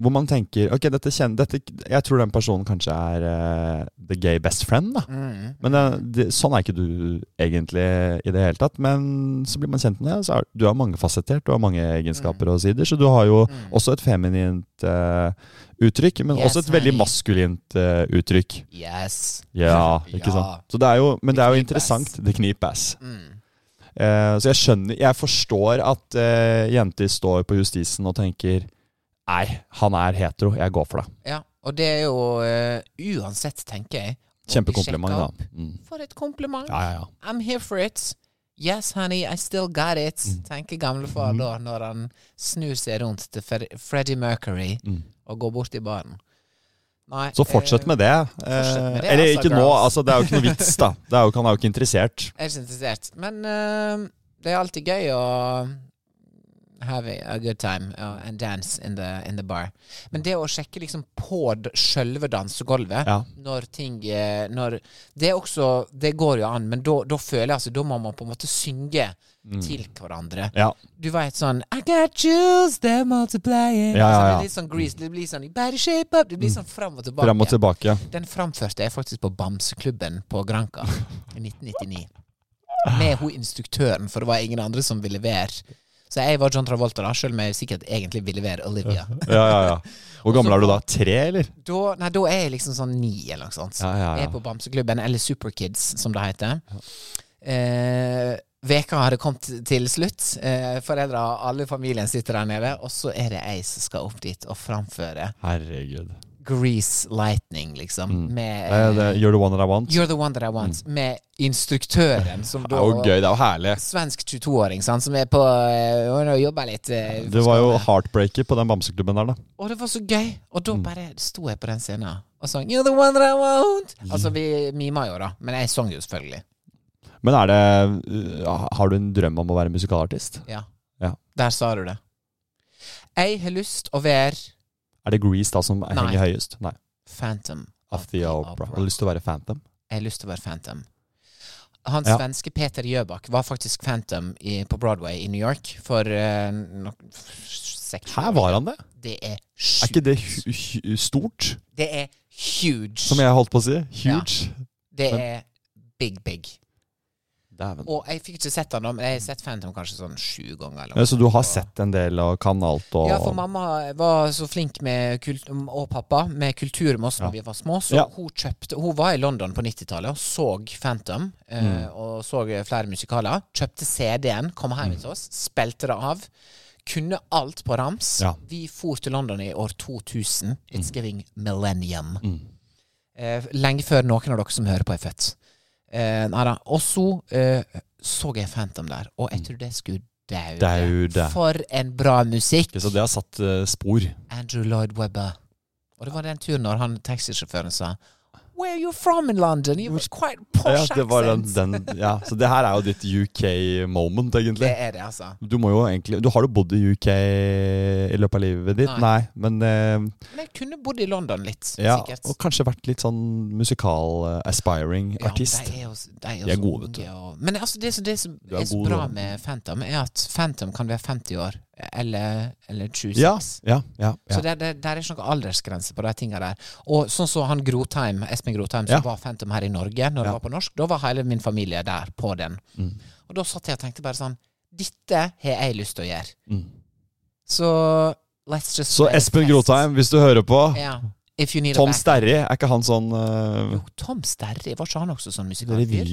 Speaker 1: hvor man tenker Ok, dette kjenner dette, Jeg tror den personen kanskje er eh, the gay best friend, da.
Speaker 2: Mm.
Speaker 1: Men det, det, sånn er ikke du egentlig i det hele tatt. Men så blir man kjent med det. Så er, du er mangefasettert, du har mange egenskaper
Speaker 2: Mm.
Speaker 1: og sider. Så du har jo også et feminint eh, uttrykk, men
Speaker 2: Yes,
Speaker 1: også et veldig
Speaker 2: honey.
Speaker 1: maskulint eh, uttrykk.
Speaker 2: Yes.
Speaker 1: Ja, ikke
Speaker 2: Ja.
Speaker 1: sant? Så det er jo, men det er jo
Speaker 2: Det knipass.
Speaker 1: interessant. Det knipass.
Speaker 2: Mm.
Speaker 1: Eh, så jeg skjønner Jeg forstår at eh, jenter står på justisen og tenker Nei, han er hetero. Jeg går for det.
Speaker 2: Ja, og det er jo eh, uansett, tenker jeg. å bli sjekket
Speaker 1: Kjempekompliment,
Speaker 2: opp.
Speaker 1: da. Mm.
Speaker 2: For et kompliment.
Speaker 1: Ja, ja, ja.
Speaker 2: I'm here for it. Yes, honey, I still got it,
Speaker 1: Mm.
Speaker 2: tenker gamlefar da, når han snur seg rundt til Fred Freddie Mercury og går bort i baren. Nei,
Speaker 1: Mm.
Speaker 2: eh,
Speaker 1: Så fortsett med det.
Speaker 2: fortsett med det,
Speaker 1: Eh, Eller
Speaker 2: altså,
Speaker 1: ikke nå,
Speaker 2: girls.
Speaker 1: altså, det er jo ikke noe vits, da. Det er jo, han er jo ikke interessert.
Speaker 2: Jeg er ikke interessert. Men eh, det er alltid gøy å have a good time uh, and dance in the, in the bar. Men det å sjekke liksom på d- sjølve dansegulvet
Speaker 1: Ja.
Speaker 2: når ting eh, når, Det er også Det går jo an, men da da føler jeg altså Da må man på en måte synge til hverandre.
Speaker 1: Mm. Ja.
Speaker 2: Du veit sånn I got juice, they're multiplying.
Speaker 1: Ja, ja,
Speaker 2: Altså, det
Speaker 1: ja.
Speaker 2: er litt sånn grease, det blir sånn Better shape up. Det blir sånn fram og tilbake.
Speaker 1: Frem og tilbake.
Speaker 2: Den framførte jeg faktisk på Bamseklubben på Granca i 1999. Med hun instruktøren, for det var ingen andre som ville være. Så jeg var John Travolta, da, selv om jeg sikkert egentlig ville være Olivia.
Speaker 1: Ja, ja, ja. Hvor gammel er du da? Tre, eller?
Speaker 2: Da, nei, da er jeg liksom sånn ni, eller noe sånt.
Speaker 1: Ja, ja, ja.
Speaker 2: Jeg er på Bamseklubben, eller Superkids, som det heter. Eh, veka hadde kommet til slutt. Eh, foreldra og alle familien sitter der nede, og så er det jeg som skal opp dit og framføre
Speaker 1: Herregud.
Speaker 2: Grease Lightning, liksom. Med
Speaker 1: Eh, det, you're the one that I want.
Speaker 2: You're the one that I want, med instruktøren som
Speaker 1: Det
Speaker 2: da
Speaker 1: er jo Mm. gøy. Det er jo herlig.
Speaker 2: Svensk 22-åring, sant, som er på eh, og nå jobber litt eh,
Speaker 1: Det var jo heartbreaker på den bamseklubben der, da.
Speaker 2: Og det var så gøy! Og
Speaker 1: Mm.
Speaker 2: da bare sto jeg på den scenen og sang You're the one that I want!
Speaker 1: Mm.
Speaker 2: Altså, vi mima jo, da, men jeg sang jo selvfølgelig.
Speaker 1: Men er det uh, Har du en drøm om å være musikalartist?
Speaker 2: Ja.
Speaker 1: Ja.
Speaker 2: Der sa du det. Jeg har lyst å være
Speaker 1: Er det Grease da som
Speaker 2: Nei.
Speaker 1: henger høyest? Nei.
Speaker 2: Phantom.
Speaker 1: Of the Opera. Har du lyst til å være Phantom?
Speaker 2: Jeg har lyst til å være Phantom. Han
Speaker 1: Ja.
Speaker 2: svenske Peter Jøbak var faktisk Phantom i, på Broadway i New York for uh, no, seks
Speaker 1: Her var han det?
Speaker 2: Det er
Speaker 1: Er
Speaker 2: sjukt.
Speaker 1: ikke det hu- hu- stort,
Speaker 2: Det er huge.
Speaker 1: som jeg holdt på å si? Huge.
Speaker 2: Det er big, big.
Speaker 1: Dæven.
Speaker 2: Og jeg fikk ikke sett han da, men jeg har sett Phantom kanskje sånn sju ganger. Eller
Speaker 1: Ja,
Speaker 2: noe.
Speaker 1: Så du har sett en del og kan alt og
Speaker 2: Ja, for mamma var så flink med kult og pappa med kultur med oss da vi var små, så
Speaker 1: Ja.
Speaker 2: hun kjøpte Hun var i London på 90-tallet og så Phantom, eh,
Speaker 1: Mm.
Speaker 2: og så flere musikaler. Kjøpte CD-en, kom hjem
Speaker 1: Mm.
Speaker 2: til oss, spilte det av. Kunne alt på rams.
Speaker 1: Ja. Mm.
Speaker 2: Vi for til London i år 2000. It's giving millennium. Eh, lenge før noen av dere som hører på, er født. Eh, nei da. Og så eh, så jeg Phantom der, og jeg trodde jeg skulle
Speaker 1: Mm. Daude.
Speaker 2: For en bra musikk!
Speaker 1: Ok, Så det har satt eh, spor.
Speaker 2: Andrew Lloyd Webber. Og det var den turen når han taxisjåføren sa Where are you from in London? You was quite
Speaker 1: Ja,
Speaker 2: posh
Speaker 1: det var den,
Speaker 2: accent."
Speaker 1: den, ja. Så det her er jo ditt UK-moment, egentlig.
Speaker 2: Det er det, altså.
Speaker 1: Du må jo egentlig Du har jo bodd i UK i løpet av livet ditt? Nei,
Speaker 2: Nei.
Speaker 1: men eh,
Speaker 2: Men jeg kunne bodd i London litt,
Speaker 1: ja,
Speaker 2: sikkert.
Speaker 1: Og kanskje vært litt sånn musikal-aspiring
Speaker 2: Ja,
Speaker 1: artist.
Speaker 2: de er jo, s- de er jo
Speaker 1: De er
Speaker 2: så
Speaker 1: gode, vet du.
Speaker 2: unge Og, men altså, det, som- det som
Speaker 1: er
Speaker 2: er så
Speaker 1: gode,
Speaker 2: bra
Speaker 1: da.
Speaker 2: med Phantom, er at Phantom kan være 50 år. eller, eller 26.
Speaker 1: Ja, ja, ja,
Speaker 2: Så
Speaker 1: ja.
Speaker 2: det, det, der er ikke noen aldersgrense på de tinga der. Og sånn som han Grotheim, Espen Grotheim, som
Speaker 1: Ja.
Speaker 2: var Phantom her i Norge når det
Speaker 1: Ja.
Speaker 2: var på norsk, da var hele min familie der på den.
Speaker 1: Mm.
Speaker 2: Og da satt jeg og tenkte bare sånn Dette har jeg lyst til å gjøre.
Speaker 1: Mm.
Speaker 2: Så let's just
Speaker 1: Så
Speaker 2: play
Speaker 1: Espen
Speaker 2: fest.
Speaker 1: Grotheim, hvis du hører på
Speaker 2: Ja. If you need a
Speaker 1: Tom
Speaker 2: back-
Speaker 1: Sterry, er ikke han sånn eh,
Speaker 2: Jo, Tom Sterry, var ikke han også sånn musikalfyr?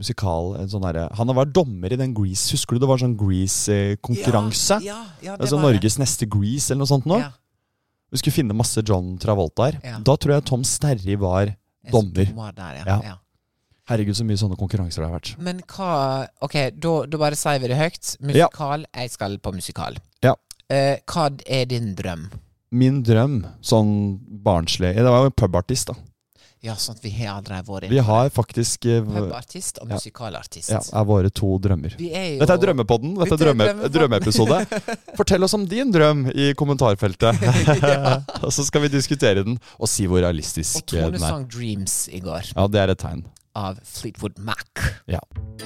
Speaker 1: revymusikal en sånn derre- Han har vært dommer i den Grease, husker du? Det var sånn Grease-konkurranse.
Speaker 2: Ja, ja, ja, det
Speaker 1: altså
Speaker 2: var det.
Speaker 1: Norges neste Grease eller noe sånt nå.
Speaker 2: Ja.
Speaker 1: Vi skulle finne masse John Travoltaer.
Speaker 2: Ja.
Speaker 1: Da tror jeg Tom Sterry var dommer.
Speaker 2: Der, ja.
Speaker 1: Ja.
Speaker 2: Ja.
Speaker 1: Herregud, så mye sånne konkurranser det har vært.
Speaker 2: Men hva Ok, da da bare sier vi det høyt. Musikal, jeg skal på musikal.
Speaker 1: Ja.
Speaker 2: Eh, hva er din drøm?
Speaker 1: Min drøm, sånn barnslig Det var jo en pubartist, da.
Speaker 2: Ja, sånn at vi har allerede vært
Speaker 1: Vi
Speaker 2: inne på
Speaker 1: har faktisk eh,
Speaker 2: det. Pubartist og
Speaker 1: Ja.
Speaker 2: musikalartist.
Speaker 1: ja, er våre to drømmer.
Speaker 2: Vi er jo
Speaker 1: Dette er drømmepodden. Dette er
Speaker 2: Dette er
Speaker 1: drømme, drømmeepisode.
Speaker 2: drømmepodden.
Speaker 1: Fortell oss om din drøm i kommentarfeltet. og så skal vi diskutere den og si hvor realistisk eh,
Speaker 2: Og Tone
Speaker 1: den er.
Speaker 2: sang 'Dreams' i går,
Speaker 1: Ja, det er et tegn.
Speaker 2: av Fleetwood Mac.
Speaker 1: Ja.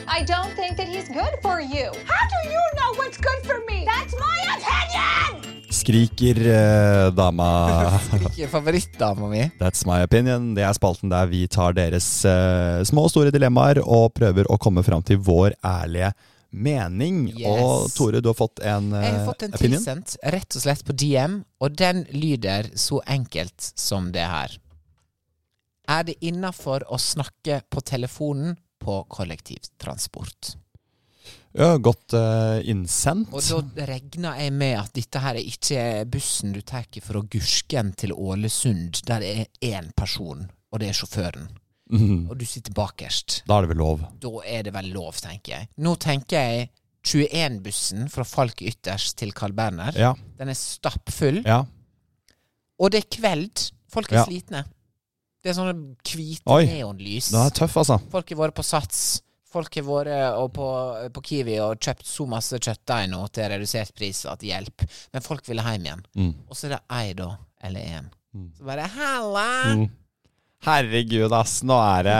Speaker 4: I don't think that he's good for you. How do you know what's good for me? That's my opinion!
Speaker 1: Skriker eh, dama.
Speaker 2: Ikke favorittdama mi.
Speaker 1: That's my opinion. Det er spalten der vi tar deres eh, små og store dilemmaer og prøver å komme fram til vår ærlige mening.
Speaker 2: Yes.
Speaker 1: Og Tore, du har fått en eh,
Speaker 2: Jeg har fått en
Speaker 1: opinion.
Speaker 2: tilsendt, rett og slett på DM, og den lyder så enkelt som det her. Er det innafor å snakke på telefonen på kollektivtransport?
Speaker 1: Ja, godt eh, innsendt.
Speaker 2: Og da regner jeg med at dette her er ikke bussen du tar fra Gursken til Ålesund, der det er én person, og det er sjåføren,
Speaker 1: Mhm.
Speaker 2: og du sitter bakerst.
Speaker 1: Da er det vel lov.
Speaker 2: Da er det vel lov, tenker jeg. Nå tenker jeg 21-bussen fra Falk ytterst til Carl Berner.
Speaker 1: Ja.
Speaker 2: Den er stappfull.
Speaker 1: ja.
Speaker 2: Og det er kveld. Folk er
Speaker 1: Ja.
Speaker 2: slitne. Det er sånne hvite
Speaker 1: Oi.
Speaker 2: neonlys.
Speaker 1: Den er tøff, altså.
Speaker 2: Folk har vært på Sats. Folk har vært og på, på Kiwi og kjøpt så masse kjøttdeig nå til redusert pris at hjelp. Men folk ville hjem igjen.
Speaker 1: Mm.
Speaker 2: Og så er det ei, da. Eller én. Så bare Halla!
Speaker 1: Mm. Herregud, ass. Nå er det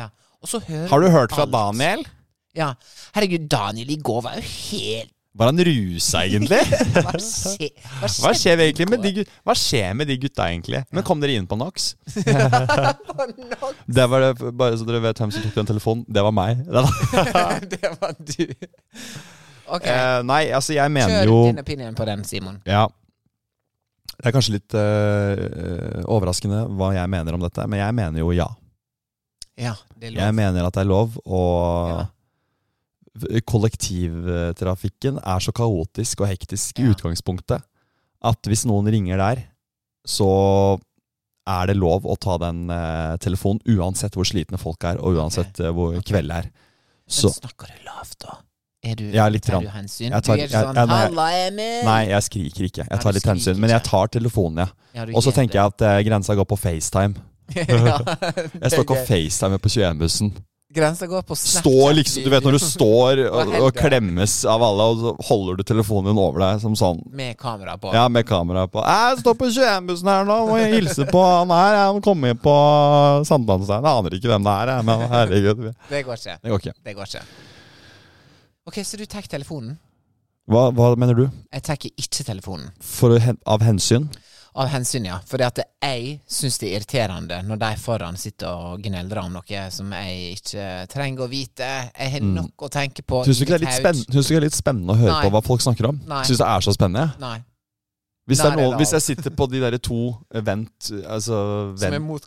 Speaker 2: Ja. Og så hører
Speaker 1: Har du hørt fra
Speaker 2: alt.
Speaker 1: Daniel?
Speaker 2: Ja. Herregud, Daniel i går var jo helt
Speaker 1: Var han rusa, egentlig?
Speaker 2: Hva, skje, hva,
Speaker 1: Hva skjer
Speaker 2: skjedde i
Speaker 1: egentlig med de,
Speaker 2: går?
Speaker 1: gut- hva skjer med de gutta, egentlig? Men kom dere inn på NOx? det var det, bare så dere vet hvem som tok den telefonen. Det var meg. Nei, da.
Speaker 2: Det var du. Ok.
Speaker 1: Eh, nei, altså, jeg mener
Speaker 2: Kjør
Speaker 1: jo
Speaker 2: din opinion på den, Simon.
Speaker 1: ja. Det er kanskje litt eh, overraskende hva jeg mener om dette, men jeg mener jo ja.
Speaker 2: Ja, det er lov.
Speaker 1: Jeg mener at det er lov, og
Speaker 2: Ja.
Speaker 1: kollektivtrafikken er så kaotisk og hektisk i
Speaker 2: Ja.
Speaker 1: utgangspunktet at hvis noen ringer der, så er det lov å ta den eh, telefonen uansett hvor slitne folk er, og uansett eh, hvor
Speaker 2: Ok.
Speaker 1: kveld er.
Speaker 2: Men
Speaker 1: Så
Speaker 2: snakker du lavt, da? Er du,
Speaker 1: Ja, litt
Speaker 2: tar
Speaker 1: grann.
Speaker 2: du hensyn?
Speaker 1: Jeg tar-
Speaker 2: du er ikke
Speaker 1: jeg-
Speaker 2: sånn
Speaker 1: jeg- nei.
Speaker 2: 'Halla, Emil'?
Speaker 1: Nei, jeg skriker ikke.
Speaker 2: Nei,
Speaker 1: Jeg tar
Speaker 2: du
Speaker 1: litt hensyn.
Speaker 2: skriker
Speaker 1: Men jeg
Speaker 2: ikke.
Speaker 1: tar telefonen, ja.
Speaker 2: Ja, du
Speaker 1: Og så
Speaker 2: gjør
Speaker 1: tenker jeg at eh, grensa går på FaceTime.
Speaker 2: det. Ja,
Speaker 1: Jeg står ikke
Speaker 2: det-
Speaker 1: og facetimer på 21-bussen.
Speaker 2: Grensa går på Snapchat.
Speaker 1: Står liksom, Du vet når du står og,
Speaker 2: hender
Speaker 1: og
Speaker 2: det?
Speaker 1: klemmes av alle, og så holder du telefonen din over deg som sånn
Speaker 2: Med kamera på.
Speaker 1: Ja, med kamera på. Jeg står på 21-bussen her nå, må jeg hilse på han her. Han kommer på Sankthanstein. Jeg aner ikke hvem det er, jeg, men herregud.
Speaker 2: Det går ikke.
Speaker 1: Det går ikke.
Speaker 2: Det går ikke. Ok, så du tar telefonen.
Speaker 1: Hva, hva mener du?
Speaker 2: Jeg tar ikke telefonen.
Speaker 1: For, å hen- av hensyn?
Speaker 2: Av hensyn, ja. Fordi at jeg syns det er irriterende når de foran sitter og gneldrer om noe som jeg ikke trenger å vite. Jeg har nok å tenke på.
Speaker 1: Syns du ikke
Speaker 2: i
Speaker 1: det er litt
Speaker 2: mitt
Speaker 1: spennende,
Speaker 2: haut.
Speaker 1: Mm. synes du ikke det er litt spennende å høre
Speaker 2: Nei.
Speaker 1: på hva folk snakker om?
Speaker 2: Nei.
Speaker 1: Syns det er så spennende? jeg.
Speaker 2: Nei.
Speaker 1: Hvis, det er
Speaker 2: Nei, det er
Speaker 1: noen, hvis
Speaker 2: det
Speaker 1: jeg sitter på de derre to eh, Vent altså,
Speaker 2: Som er
Speaker 1: vent.
Speaker 2: mot,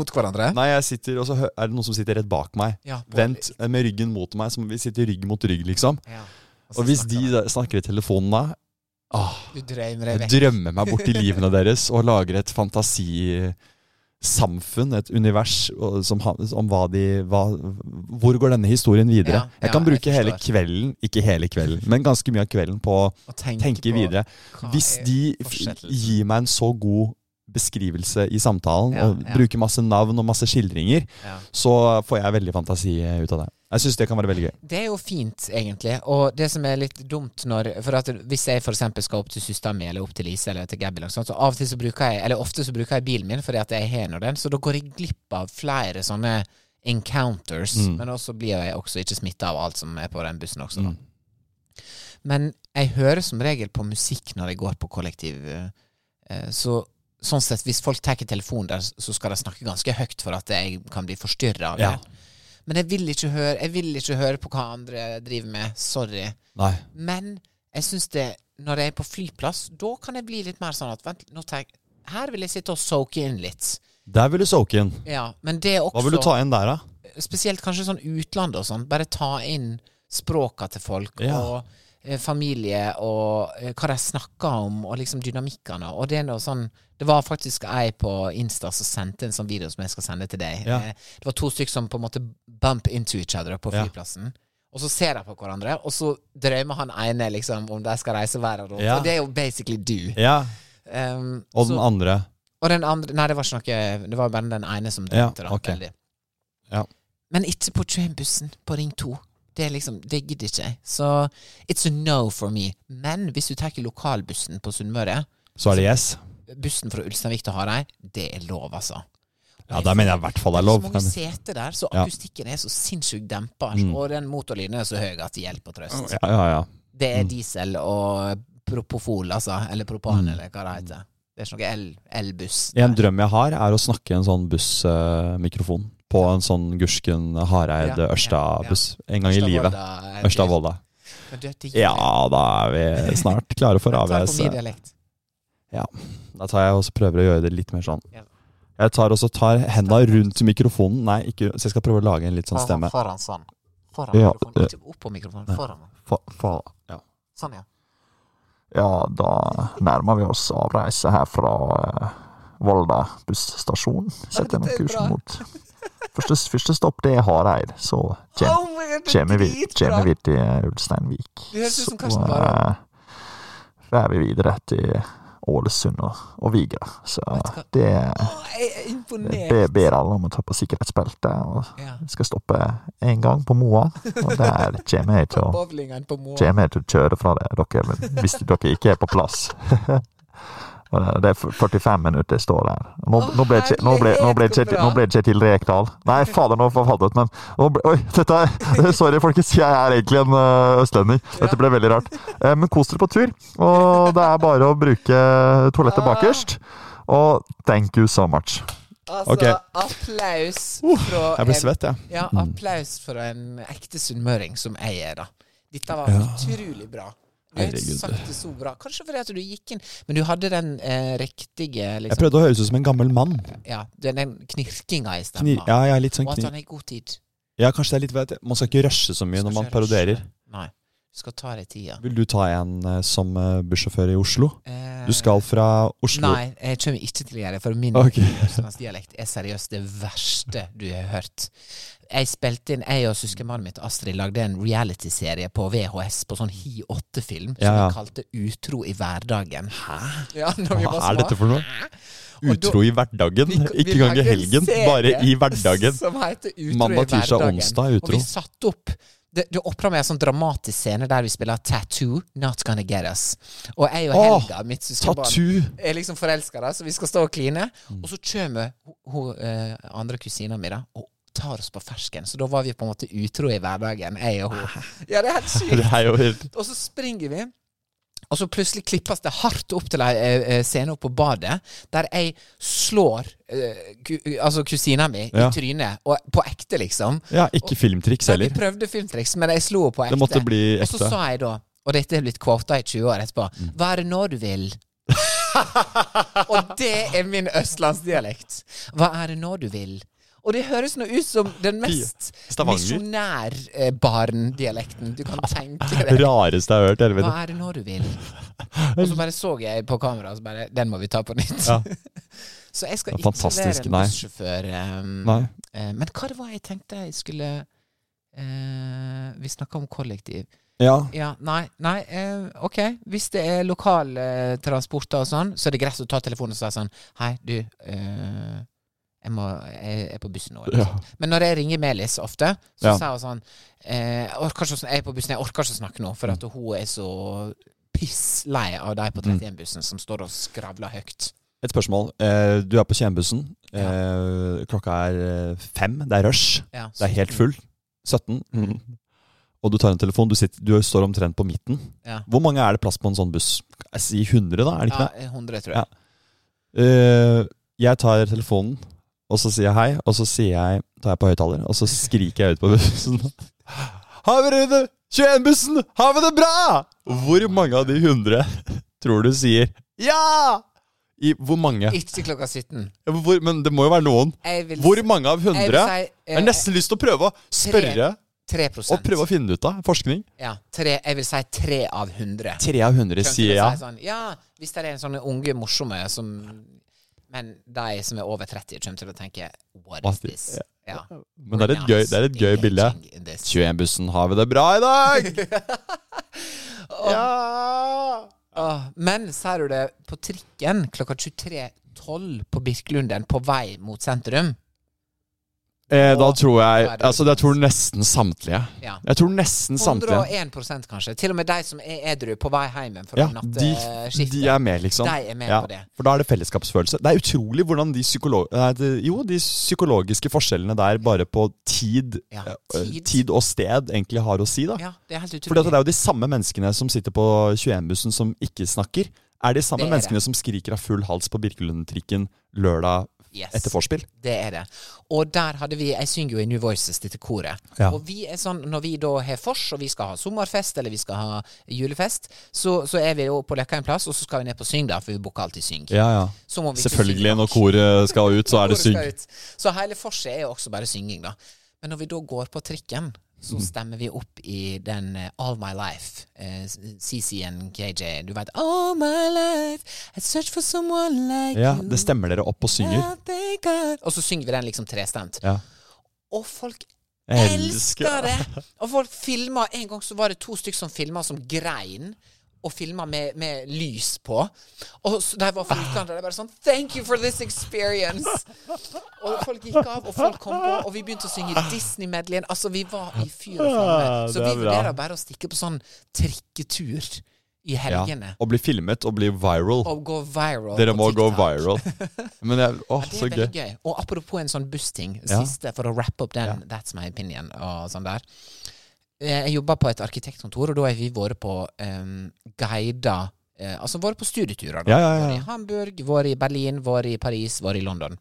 Speaker 2: mot hverandre?
Speaker 1: Nei, jeg sitter, og så hø- er det noen som sitter rett bak meg.
Speaker 2: Ja, på-
Speaker 1: Vent eh, med ryggen mot meg, som vi sitter rygg mot rygg, liksom.
Speaker 2: Ja. så
Speaker 1: Og hvis de
Speaker 2: snakker de.
Speaker 1: da snakker i telefonen da Åh
Speaker 2: Du drømmer deg
Speaker 1: Jeg
Speaker 2: vekk.
Speaker 1: drømmer meg bort i livene deres og lager et fantasisamfunn, et univers, og- som, han- om hva de hva, Hvor går denne historien videre?
Speaker 2: Ja, ja,
Speaker 1: jeg kan bruke
Speaker 2: jeg
Speaker 1: hele
Speaker 2: forstår.
Speaker 1: kvelden, ikke hele kvelden, men ganske mye av kvelden på å
Speaker 2: Og tenke,
Speaker 1: tenke
Speaker 2: på
Speaker 1: videre.
Speaker 2: hva
Speaker 1: Hvis
Speaker 2: er
Speaker 1: de f-
Speaker 2: fortsettelsen?
Speaker 1: gir meg en så god beskrivelse i samtalen,
Speaker 2: Ja,
Speaker 1: og
Speaker 2: ja.
Speaker 1: bruker masse navn og masse skildringer,
Speaker 2: Ja.
Speaker 1: så får jeg veldig fantasi eh, ut av det. Jeg syns det kan være veldig gøy.
Speaker 2: Det er jo fint, egentlig. Og det som er litt dumt når For at hvis jeg f.eks. skal opp til søsteren min, eller opp til Lise, eller til Gabby, eller noe sånt, så av og til så bruker jeg Eller ofte så bruker jeg bilen min fordi at jeg har nå den, så da går jeg glipp av flere sånne encounters. Men også blir jeg også ikke smitta av alt som er på den bussen også, da. Men jeg hører som regel på musikk når jeg går på kollektiv. eh, Så sånn sett, hvis folk tar telefonen der, så skal de snakke ganske høyt for at jeg kan bli forstyrra av det.
Speaker 1: Ja.
Speaker 2: Men jeg vil, ikke høre, jeg vil ikke høre på hva andre driver med. Sorry.
Speaker 1: Nei.
Speaker 2: Men jeg syns det Når jeg er på flyplass, da kan jeg bli litt mer sånn at Vent, nå tar jeg Her vil jeg sitte og soake inn litt.
Speaker 1: Der vil du soake inn.
Speaker 2: Ja, men det er også
Speaker 1: Hva vil du ta inn der, da?
Speaker 2: spesielt kanskje sånn utlandet og sånn, bare ta inn språka til folk
Speaker 1: Ja.
Speaker 2: og eh, familie og eh, hva de snakker om, og liksom dynamikkene. Og det er noe sånn Det var faktisk ei på Insta som sendte en sånn video som jeg skal sende til deg.
Speaker 1: Ja.
Speaker 2: Eh, Det var to stykker som på en måte bump into each other på
Speaker 1: Ja.
Speaker 2: flyplassen. Og så ser de på hverandre, og så drømmer han ene liksom om de skal reise verden rundt.
Speaker 1: Ja.
Speaker 2: Og det er jo basically du.
Speaker 1: Ja.
Speaker 2: Um,
Speaker 1: Og
Speaker 2: så-
Speaker 1: den andre.
Speaker 2: og den andre Nei, det var ikke noe Det var bare den ene som
Speaker 1: Ja,
Speaker 2: drømte. da,
Speaker 1: ok.
Speaker 2: veldig.
Speaker 1: Ja.
Speaker 2: Men ikke på trainbussen på Ring 2. Det er liksom, det gidder ikke jeg. Så it's a no for me. Men hvis du tar lokalbussen på Sunnmøre,
Speaker 1: Så er det yes.
Speaker 2: bussen fra Ulsteinvik til Hareid, det er lov, altså.
Speaker 1: Ja, der mener jeg i hvert fall det er lov.
Speaker 2: Så mange seter der, så
Speaker 1: Ja. Mm.
Speaker 2: akustikken er så sinnssykt dempa, og den motorlyden er så høy at det hjelper trøst.
Speaker 1: Ja, Mm. ja, ja.
Speaker 2: Det er diesel og propofol, altså. Eller propan, eller hva det heter. Det er ikke noe el- elbuss.
Speaker 1: Mm. En drøm jeg har, er å snakke i en sånn bussmikrofon. På en sånn Gursken Hareid
Speaker 2: Ja, ja,
Speaker 1: Ørsta-buss. En gang i livet.
Speaker 2: Ørsta-Volda, eh,
Speaker 1: Ørsta-Volda.
Speaker 2: Men du, det gir
Speaker 1: Ja, altså,
Speaker 2: meg.
Speaker 1: da er vi snart klare for
Speaker 2: Ta på min
Speaker 1: avgjørelse.
Speaker 2: dialekt.
Speaker 1: Da tar jeg også prøver å gjøre det litt mer sånn.
Speaker 2: Ja.
Speaker 1: Jeg tar også tar henda rundt mikrofonen. Nei, ikke, så jeg skal prøve å lage en litt sånn stemme.
Speaker 2: Foran sånn. Foran
Speaker 1: Ja,
Speaker 2: mikrofonen.
Speaker 1: eh.
Speaker 2: Ikke opp på mikrofonen. Foran.
Speaker 1: Fa, fa, ja.
Speaker 2: Sånn, ja.
Speaker 5: Ja, da nærmer vi oss avreise her fra eh, Volda busstasjon. Setter nå kursen mot første, første stopp, det er Hareid. Så kjem,
Speaker 2: Oh my God, det er
Speaker 5: kjemmer vi,
Speaker 2: dritbra.
Speaker 5: kjemmer vi til eh, Ulsteinvik.
Speaker 2: Det høres ut som
Speaker 5: Så
Speaker 2: Karsten Warholm.
Speaker 5: eh, drar vi videre til Ålesund og, og Vigra. Så det,
Speaker 2: Å, Jeg er imponert.
Speaker 1: Eh,
Speaker 5: det ber alle om å ta på sikkerhetsbeltet. Og
Speaker 2: Ja.
Speaker 5: skal stoppe én gang på Moa, og der kommer jeg til å
Speaker 2: Bowlingen på Moa.
Speaker 5: kommer jeg til å kjøre fra det, dere, hvis dere ikke er på plass. Og det- Det er 45 minutter jeg står der. Nå,
Speaker 2: Å,
Speaker 5: nå ble ikke- nå ble- nå ble ikke
Speaker 2: herlighet, så
Speaker 5: nå ble ikke jeg til Rekdal. Nei, fader, nå forfallet, men nå ble, Oi, dette er Sorry, folkens. Jeg er egentlig en ø, østlending. Dette ble veldig rart. Eh, Men kos dere på tur. Og det er bare å bruke toalettet
Speaker 2: Ah.
Speaker 5: bakerst. Og thank you so much.
Speaker 2: Altså,
Speaker 1: Ok. Uh,
Speaker 2: applaus fra
Speaker 1: Jeg blir
Speaker 2: en-
Speaker 1: svett, Mm. jeg.
Speaker 2: Ja, applaus fra en ekte sunnmøring som jeg er, da. Dette var utrolig bra. Du har
Speaker 1: Herregud.
Speaker 2: sagt det så bra. Kanskje fordi at du gikk inn Men du hadde den eh, riktige
Speaker 1: Jeg
Speaker 2: liksom,
Speaker 1: prøvde å høres ut som en gammel mann.
Speaker 2: ja, Den, den knirkinga i
Speaker 1: Knir,
Speaker 2: stemma.
Speaker 1: ja, jeg er litt sånn
Speaker 2: og at
Speaker 1: knir.
Speaker 2: han er i god tid.
Speaker 1: Ja, kanskje det er litt vet jeg. Man skal ikke rushe så mye når man
Speaker 2: Skal ikke
Speaker 1: parodierer.
Speaker 2: rushe. Nei. Du skal ta deg tida.
Speaker 1: Vil du ta en eh, som eh, bussjåfør i Oslo?
Speaker 2: Eh,
Speaker 1: Du skal fra Oslo
Speaker 2: Nei, jeg kommer ikke til å gjøre det, for min
Speaker 1: Ok.
Speaker 2: østlandsdialekt er seriøst det verste du har hørt. Jeg spilte inn, jeg og søskenbarnet mitt Astrid lagde en reality-serie på VHS på sånn Hi8-film som
Speaker 1: Ja, ja.
Speaker 2: vi kalte Utro i hverdagen. Hæ? Ja, når vi
Speaker 1: Hva
Speaker 2: var
Speaker 1: er
Speaker 2: små.
Speaker 1: dette for noe? Utro i hverdagen?
Speaker 2: Vi- vi
Speaker 1: Ikke engang i
Speaker 2: lagde en
Speaker 1: helgen,
Speaker 2: serie
Speaker 1: bare i hverdagen.
Speaker 2: Som heter Utro
Speaker 1: Mandag,
Speaker 2: i
Speaker 1: tirsdag,
Speaker 2: hverdagen.
Speaker 1: onsdag er utro.
Speaker 2: Og vi satte opp Det, det åpna med en sånn dramatisk scene der vi spiller Tattoo, Not Gonna Get Us. Og jeg og
Speaker 1: Åh,
Speaker 2: Helga, mitt søskenbarn
Speaker 1: Tattoo! Mm.
Speaker 2: er liksom forelska, da, så vi skal stå og kline. Og så kommer ho- ho- eh, andre kusina mi da og tar oss på fersken. Så da var vi på en måte utro i hverdagen, jeg og hun. Ja, det er helt sykt.
Speaker 1: Det er jo helt
Speaker 2: Og så springer vi. Og så plutselig klippes det hardt opp til ei eh, eh, scene oppe på badet, der jeg slår eh, ku, altså kusina mi
Speaker 1: Ja.
Speaker 2: i trynet. Og på ekte, liksom.
Speaker 1: Ja, ikke filmtriks
Speaker 2: Nei,
Speaker 1: heller.
Speaker 2: vi prøvde filmtriks, men jeg slo henne på ekte.
Speaker 1: Det måtte bli
Speaker 2: Og så
Speaker 1: ekte. Mm.
Speaker 2: sa jeg da, og dette er blitt quota i 20 år etterpå, hva er det nå du vil? og det er min østlandsdialekt. Hva er det nå du vil? Og det høres nå ut som den mest
Speaker 1: Stavanger.
Speaker 2: misjonærbarn-dialekten du kan tenke deg.
Speaker 1: Rareste jeg har hørt.
Speaker 2: Hva
Speaker 1: Helvete.
Speaker 2: er det nå du vil? Og så bare så jeg på kamera, og så bare Den må vi ta på nytt.
Speaker 1: Ja.
Speaker 2: så jeg skal
Speaker 1: Det er
Speaker 2: ikke
Speaker 1: fantastisk,
Speaker 2: være en
Speaker 1: nei.
Speaker 2: bussjåfør. ehm,
Speaker 1: Nei.
Speaker 2: eh, men hva det var jeg tenkte jeg skulle eh, Vi snakka om kollektiv.
Speaker 1: Ja.
Speaker 2: Ja, nei, nei eh, ok. Hvis det er lokale transporter og sånn, så er det greit å ta telefonen og si sånn Hei, du, eh, jeg, må, jeg er på bussen nå. liksom.» eller
Speaker 1: Ja.
Speaker 2: noe sånt. Men når jeg ringer Melis ofte, så
Speaker 1: Ja.
Speaker 2: sier hun sånn eh, jeg, orker ikke, å sn- 'Jeg er på bussen, jeg orker ikke å snakke nå', for
Speaker 1: Mm.
Speaker 2: at hun er så pisslei av de på 31-bussen som står og skravler høyt.
Speaker 1: Et spørsmål. Eh, Du er på Tjenbussen. Eh, Klokka er eh, fem. Det er rush.
Speaker 2: Ja,
Speaker 1: Det er helt full. 17. og du tar en telefon, du, sitter, du står omtrent på midten.
Speaker 2: Ja.
Speaker 1: Hvor mange er det plass på en sånn buss? Jeg sier 100, da? er det ikke
Speaker 2: Ja,
Speaker 1: det?
Speaker 2: 100, tror
Speaker 1: Ja.
Speaker 2: jeg.
Speaker 1: Eh, jeg tar telefonen, og så sier jeg hei, og så sier jeg, tar jeg på høyttaler, og så skriker jeg ut på bussen. Havrede! 21-bussen! Har vi det bra?! Hvor mange av de 100 tror du sier ja?! I hvor mange?
Speaker 2: Ikke klokka 17.
Speaker 1: Hvor, men det må jo være noen.
Speaker 2: Jeg vil
Speaker 1: Hvor mange av 100?
Speaker 2: Jeg vil si,
Speaker 1: Jeg,
Speaker 2: eh,
Speaker 1: har nesten lyst til å prøve å spørre
Speaker 2: 3
Speaker 1: og prøve å finne det ut av forskning.
Speaker 2: Ja, tre, jeg vil si tre av 100.
Speaker 1: Tre av 100
Speaker 2: Skjønte du
Speaker 1: sier
Speaker 2: å
Speaker 1: ja.
Speaker 2: si Sånn, ja, hvis det er en sånne unge morsomme som Men de som er over 30, kommer til å tenke What is
Speaker 1: What is-
Speaker 2: this? Ja.
Speaker 1: Men det er et gøy, det er et gøy bilde.
Speaker 2: Engaging in this.
Speaker 1: 21-bussen, har vi det bra i dag? ja!
Speaker 2: Åh, Ah, men ser du det på trikken klokka 23.12 på Birkelunden på vei mot sentrum?
Speaker 1: Eh, da tror jeg
Speaker 2: Nå er det
Speaker 1: altså, Jeg tror nesten samtlige.
Speaker 2: Ja.
Speaker 1: Jeg tror nesten samtlige.
Speaker 2: 101 kanskje. Til og med de som er edru på vei hjem fra
Speaker 1: Ja, de,
Speaker 2: natteskiftet.
Speaker 1: de er med, liksom.
Speaker 2: De er med
Speaker 1: ja,
Speaker 2: på det.
Speaker 1: For da er det fellesskapsfølelse. Det er utrolig hvordan de, psykolo- nei, det- jo, de psykologiske forskjellene der bare på tid,
Speaker 2: Ja,
Speaker 1: eh,
Speaker 2: tid.
Speaker 1: tid og sted egentlig har å si, da.
Speaker 2: Ja, det er helt utrolig.
Speaker 1: Fordi at det er jo de samme menneskene som sitter på 21-bussen som ikke snakker, er de samme
Speaker 2: Det er
Speaker 1: menneskene
Speaker 2: det.
Speaker 1: som skriker av full hals på Birkelund-trikken lørdag
Speaker 2: Yes.
Speaker 1: etter forspill.
Speaker 2: Det er det. Og der hadde vi Jeg synger jo i New Voices, dette koret.
Speaker 1: Ja.
Speaker 2: Og vi er sånn, når vi da har vors, og vi skal ha sommerfest eller vi skal ha julefest, så, så er vi jo på Løkka en plass, og så skal vi ned på Syng, da, for vi booker alltid Syng.
Speaker 1: Ja, ja.
Speaker 2: Så må vi ikke
Speaker 1: Selvfølgelig,
Speaker 2: synge
Speaker 1: når
Speaker 2: nok.
Speaker 1: koret skal ut, så er det
Speaker 2: Koret
Speaker 1: syng.
Speaker 2: skal ut. Så hele forset er jo også bare synging, da. Men når vi da går på trikken, så
Speaker 1: Mm.
Speaker 2: stemmer vi opp i den eh, All My Life, eh, CC and KJ. Du veit All my life, I search for someone like
Speaker 1: Ja,
Speaker 2: you.
Speaker 1: det stemmer dere opp og synger.
Speaker 2: I think I- Og så synger vi den liksom trestemt.
Speaker 1: Ja.
Speaker 2: Og folk
Speaker 1: Jeg
Speaker 2: elsker
Speaker 1: elsker
Speaker 2: det! Og folk filma En gang så var det to stykker som filma som grein. Og filma med, med lys på. Og så de var fra utlandet. De bare sånn Thank you for this experience! Og folk gikk av, og folk kom på, og vi begynte å synge Disney-medleyen. Altså, vi var i fyr og flamme.
Speaker 1: Ja, det
Speaker 2: Så vi
Speaker 1: er bra.
Speaker 2: vurderer bare å stikke på sånn trikketur i
Speaker 1: Ja.
Speaker 2: helgene.
Speaker 1: Og bli filmet og bli viral.
Speaker 2: Og gå viral.
Speaker 1: Dere
Speaker 2: på
Speaker 1: må gå
Speaker 2: TikTok.
Speaker 1: viral. Men jeg, åh,
Speaker 2: Ja,
Speaker 1: så
Speaker 2: det er
Speaker 1: gøy.
Speaker 2: veldig gøy. Og apropos en sånn bussting,
Speaker 1: Ja.
Speaker 2: siste for å wrappe opp den, that's my opinion og sånn der. Eh, Jeg jobba på et arkitektkontor, og da har vi vært på um, guida eh, Altså vært på studieturer. Da.
Speaker 1: Ja, ja, ja.
Speaker 2: Vært i Hamburg, vært i Berlin, vært i Paris, vært i London.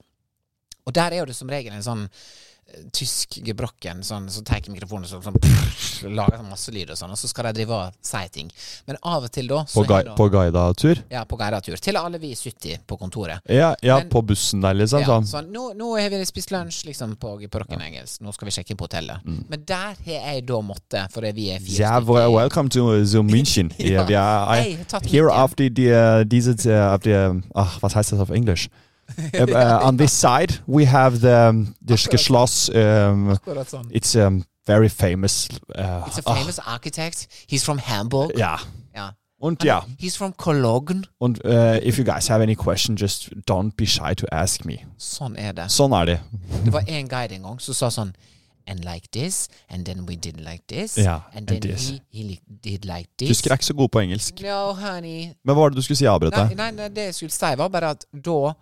Speaker 2: Og der er jo det som regel en sånn eh, tysk gebrokken sånn, som tar mikrofonen og så, sånn, prrr, lager sånn masse lyd og sånn, og så skal de drive og si ting. Men av og til da
Speaker 1: På,
Speaker 2: så er
Speaker 1: gui-
Speaker 2: det-
Speaker 1: på guida tur?
Speaker 2: ja, på guidatur. Til alle vi 70 på kontoret.
Speaker 1: Ja, ja
Speaker 2: Men-
Speaker 1: på bussen der, liksom.
Speaker 2: Ja,
Speaker 1: Sånn.
Speaker 2: sånn, nå, nå har vi spist lunsj liksom, på, på Rocken Engels. Nå skal vi sjekke inn på hotellet.
Speaker 1: Mm.
Speaker 2: Men der har jeg da måttet, fordi vi er fire
Speaker 1: Ja,
Speaker 2: stykker.
Speaker 1: wel- welcome to the München.
Speaker 2: Ja.
Speaker 1: yeah, we are, I
Speaker 2: Hey, Totten
Speaker 1: here
Speaker 2: München.
Speaker 1: after the, uh, dieses, uh, after, um, ach, was heißt das auf Englisch? Uh, uh, on this side we have the, um,
Speaker 2: äh,
Speaker 1: this Schloss. Um,
Speaker 2: Akkurat sånn.
Speaker 1: it's um, very famous. Uh,
Speaker 2: It's a
Speaker 1: ah,
Speaker 2: famous architect. He's from Hamburg.
Speaker 1: ja.
Speaker 2: Ja.
Speaker 1: Und ja,
Speaker 2: He's from Cologne.
Speaker 1: und uh, if you guys have any question, just don't be shy to ask me.
Speaker 2: Sånn er det.
Speaker 1: Sånn er det.
Speaker 2: Det var en guide en gang som sa sånn And like this, and then we did like this,
Speaker 1: Ja,
Speaker 2: and then
Speaker 1: and this.
Speaker 2: he, he li- did like this.
Speaker 1: Tyskere er ikke så gode på engelsk.
Speaker 2: No, honey,
Speaker 1: Men hva var det du skulle si, avbrøt
Speaker 2: Nei,
Speaker 1: deg?
Speaker 2: nei, nei, det jeg skulle si var bare at da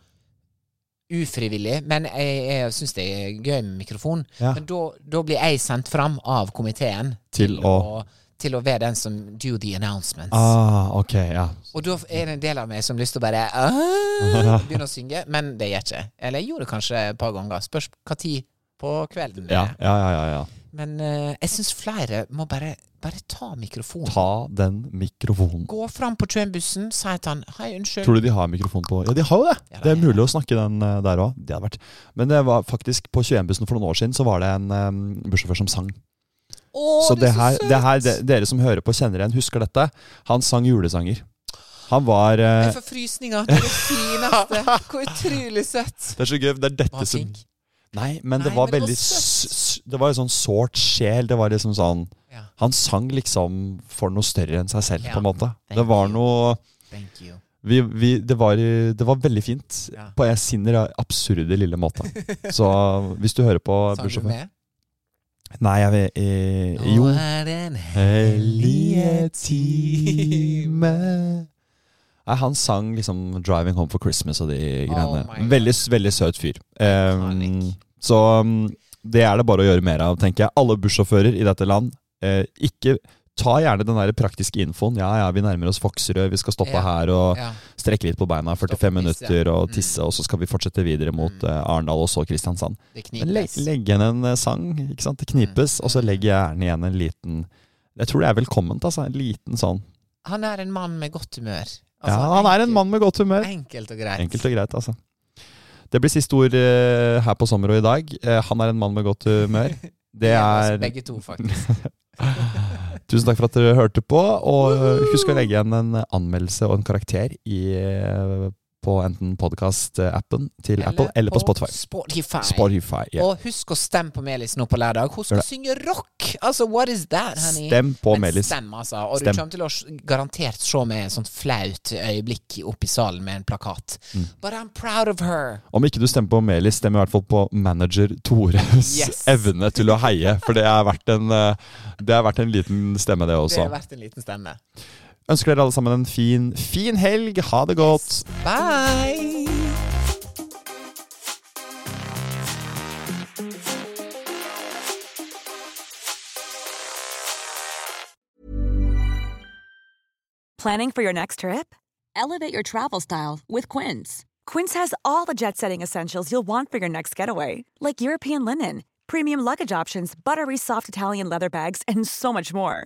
Speaker 2: Ufrivillig, men jeg, jeg syns det er gøy med mikrofon.
Speaker 1: Ja.
Speaker 2: Men da, da blir jeg sendt fram av komiteen
Speaker 1: Til å-
Speaker 2: til å være den som do the announcements.
Speaker 1: Ah, ok, ja.
Speaker 2: Og da er det en del av meg som har lyst til å bare ah, begynne å synge, men det gjør jeg ikke. Eller jeg gjorde det kanskje et par ganger. Spørs hva tid på kvelden. det
Speaker 1: Ja,
Speaker 2: er.
Speaker 1: ja, ja, ja, ja.
Speaker 2: Men eh, jeg syns flere må bare, bare ta mikrofonen.
Speaker 1: Ta den mikrofonen.
Speaker 2: Gå fram på 21-bussen, si til han 'hei, unnskyld'.
Speaker 1: Tror du de har mikrofon på Ja, de har jo det! det
Speaker 2: Ja,
Speaker 1: er
Speaker 2: det er
Speaker 1: mulig å snakke den eh, der òg. Det hadde vært Men det var faktisk på 21-bussen for noen år siden så var det en eh, bussjåfør som sang.
Speaker 2: Å,
Speaker 1: så det
Speaker 2: det er så
Speaker 1: her,
Speaker 2: søtt!
Speaker 1: det her det, dere som hører på, kjenner igjen. Husker dette? Han sang julesanger. Han var eh,
Speaker 2: Jeg får frysninger til det fineste. Hvor utrolig søtt.
Speaker 1: Det er så gøy. Det er
Speaker 2: Var
Speaker 1: dette
Speaker 2: han
Speaker 1: som
Speaker 2: flink?
Speaker 1: Nei, men det
Speaker 2: Nei,
Speaker 1: var
Speaker 2: men det var
Speaker 1: veldig
Speaker 2: søtt.
Speaker 1: s- s- Det var en sånn sårt sjel. Det var liksom sånn
Speaker 2: Ja.
Speaker 1: Han sang liksom for noe større enn seg selv,
Speaker 2: Ja.
Speaker 1: på en måte.
Speaker 2: Thank
Speaker 1: Det var
Speaker 2: you.
Speaker 1: noe
Speaker 2: Thank you.
Speaker 1: vi, vi, det, var, det var veldig fint
Speaker 2: Ja.
Speaker 1: på en sin absurde lille måte. Så hvis du hører på
Speaker 2: Sang du
Speaker 1: bussjåfør
Speaker 2: med?
Speaker 1: Nei, jeg vet eh, Jo.
Speaker 2: Nå er den
Speaker 1: Hellige time Nei, han sang liksom 'Driving Home for Christmas' og de greiene.
Speaker 2: Oh my God.
Speaker 1: veldig, veldig søt fyr. um, Eh,
Speaker 2: Iconic.
Speaker 1: så mm, det er det bare å gjøre mer av, tenker jeg. Alle bussjåfører i dette land, eh, ikke Ta gjerne den der praktiske infoen. Ja, ja, vi nærmer oss Foksrød, vi skal stoppe
Speaker 2: Ja.
Speaker 1: her og
Speaker 2: Ja.
Speaker 1: strekke litt på beina. 45
Speaker 2: Stoppe og tisse.
Speaker 1: minutter og
Speaker 2: Mm.
Speaker 1: tisse, og så skal vi fortsette videre mot
Speaker 2: Mm.
Speaker 1: eh, Arendal og så Kristiansand.
Speaker 2: Det
Speaker 1: Men le
Speaker 2: knipes.
Speaker 1: legg igjen en eh, sang, ikke sant? Det knipes,
Speaker 2: Mm.
Speaker 1: og så legger jeg gjerne igjen en liten Jeg tror det er velkomment, altså. En liten sånn.
Speaker 2: Han er en mann med godt humør. Altså,
Speaker 1: Ja, han er en mann med godt humør.
Speaker 2: Enkelt og greit.
Speaker 1: Enkelt og greit, altså. Det blir siste ord eh, her på Sommer og i dag. Eh, han er en mann med godt humør. Det
Speaker 2: Oss
Speaker 1: er
Speaker 2: altså, Begge to, faktisk.
Speaker 1: Tusen takk for at dere hørte på, og eh, husk å legge igjen en anmeldelse og en karakter i, eh, på enten podkast-appen til Apple eller på Spotify.
Speaker 2: Spotify.
Speaker 1: Spotify, ja.
Speaker 2: Og husk å stemme på Melis nå på lørdag. Hun skal
Speaker 1: Gjør det.
Speaker 2: synge rock! Altså, what is that, honey?
Speaker 1: Stem på
Speaker 2: Men
Speaker 1: Melis.
Speaker 2: Stem, altså. Og
Speaker 1: Stem.
Speaker 2: du kommer til å s- garantert se med et sånt flaut øyeblikk opp i salen med en plakat.
Speaker 1: Mm.
Speaker 2: But I'm proud of her.
Speaker 1: Om ikke du stemmer på Melis, stem i hvert fall på manager Tores
Speaker 2: Yes.
Speaker 1: evne til å heie. For det har vært en, eh, det har vært en liten stemme, det
Speaker 2: Det
Speaker 1: også.
Speaker 2: har vært en liten stemme.
Speaker 1: Ønsker dere alle sammen en fin, fin helg. Ha det godt.
Speaker 2: Bye!
Speaker 6: Planning for your next trip? Elevate your travel style with Quince. Quince has all the jet setting essentials you'll want for your next getaway, like European linen, premium luggage options, buttery soft Italian leather bags, and so much more.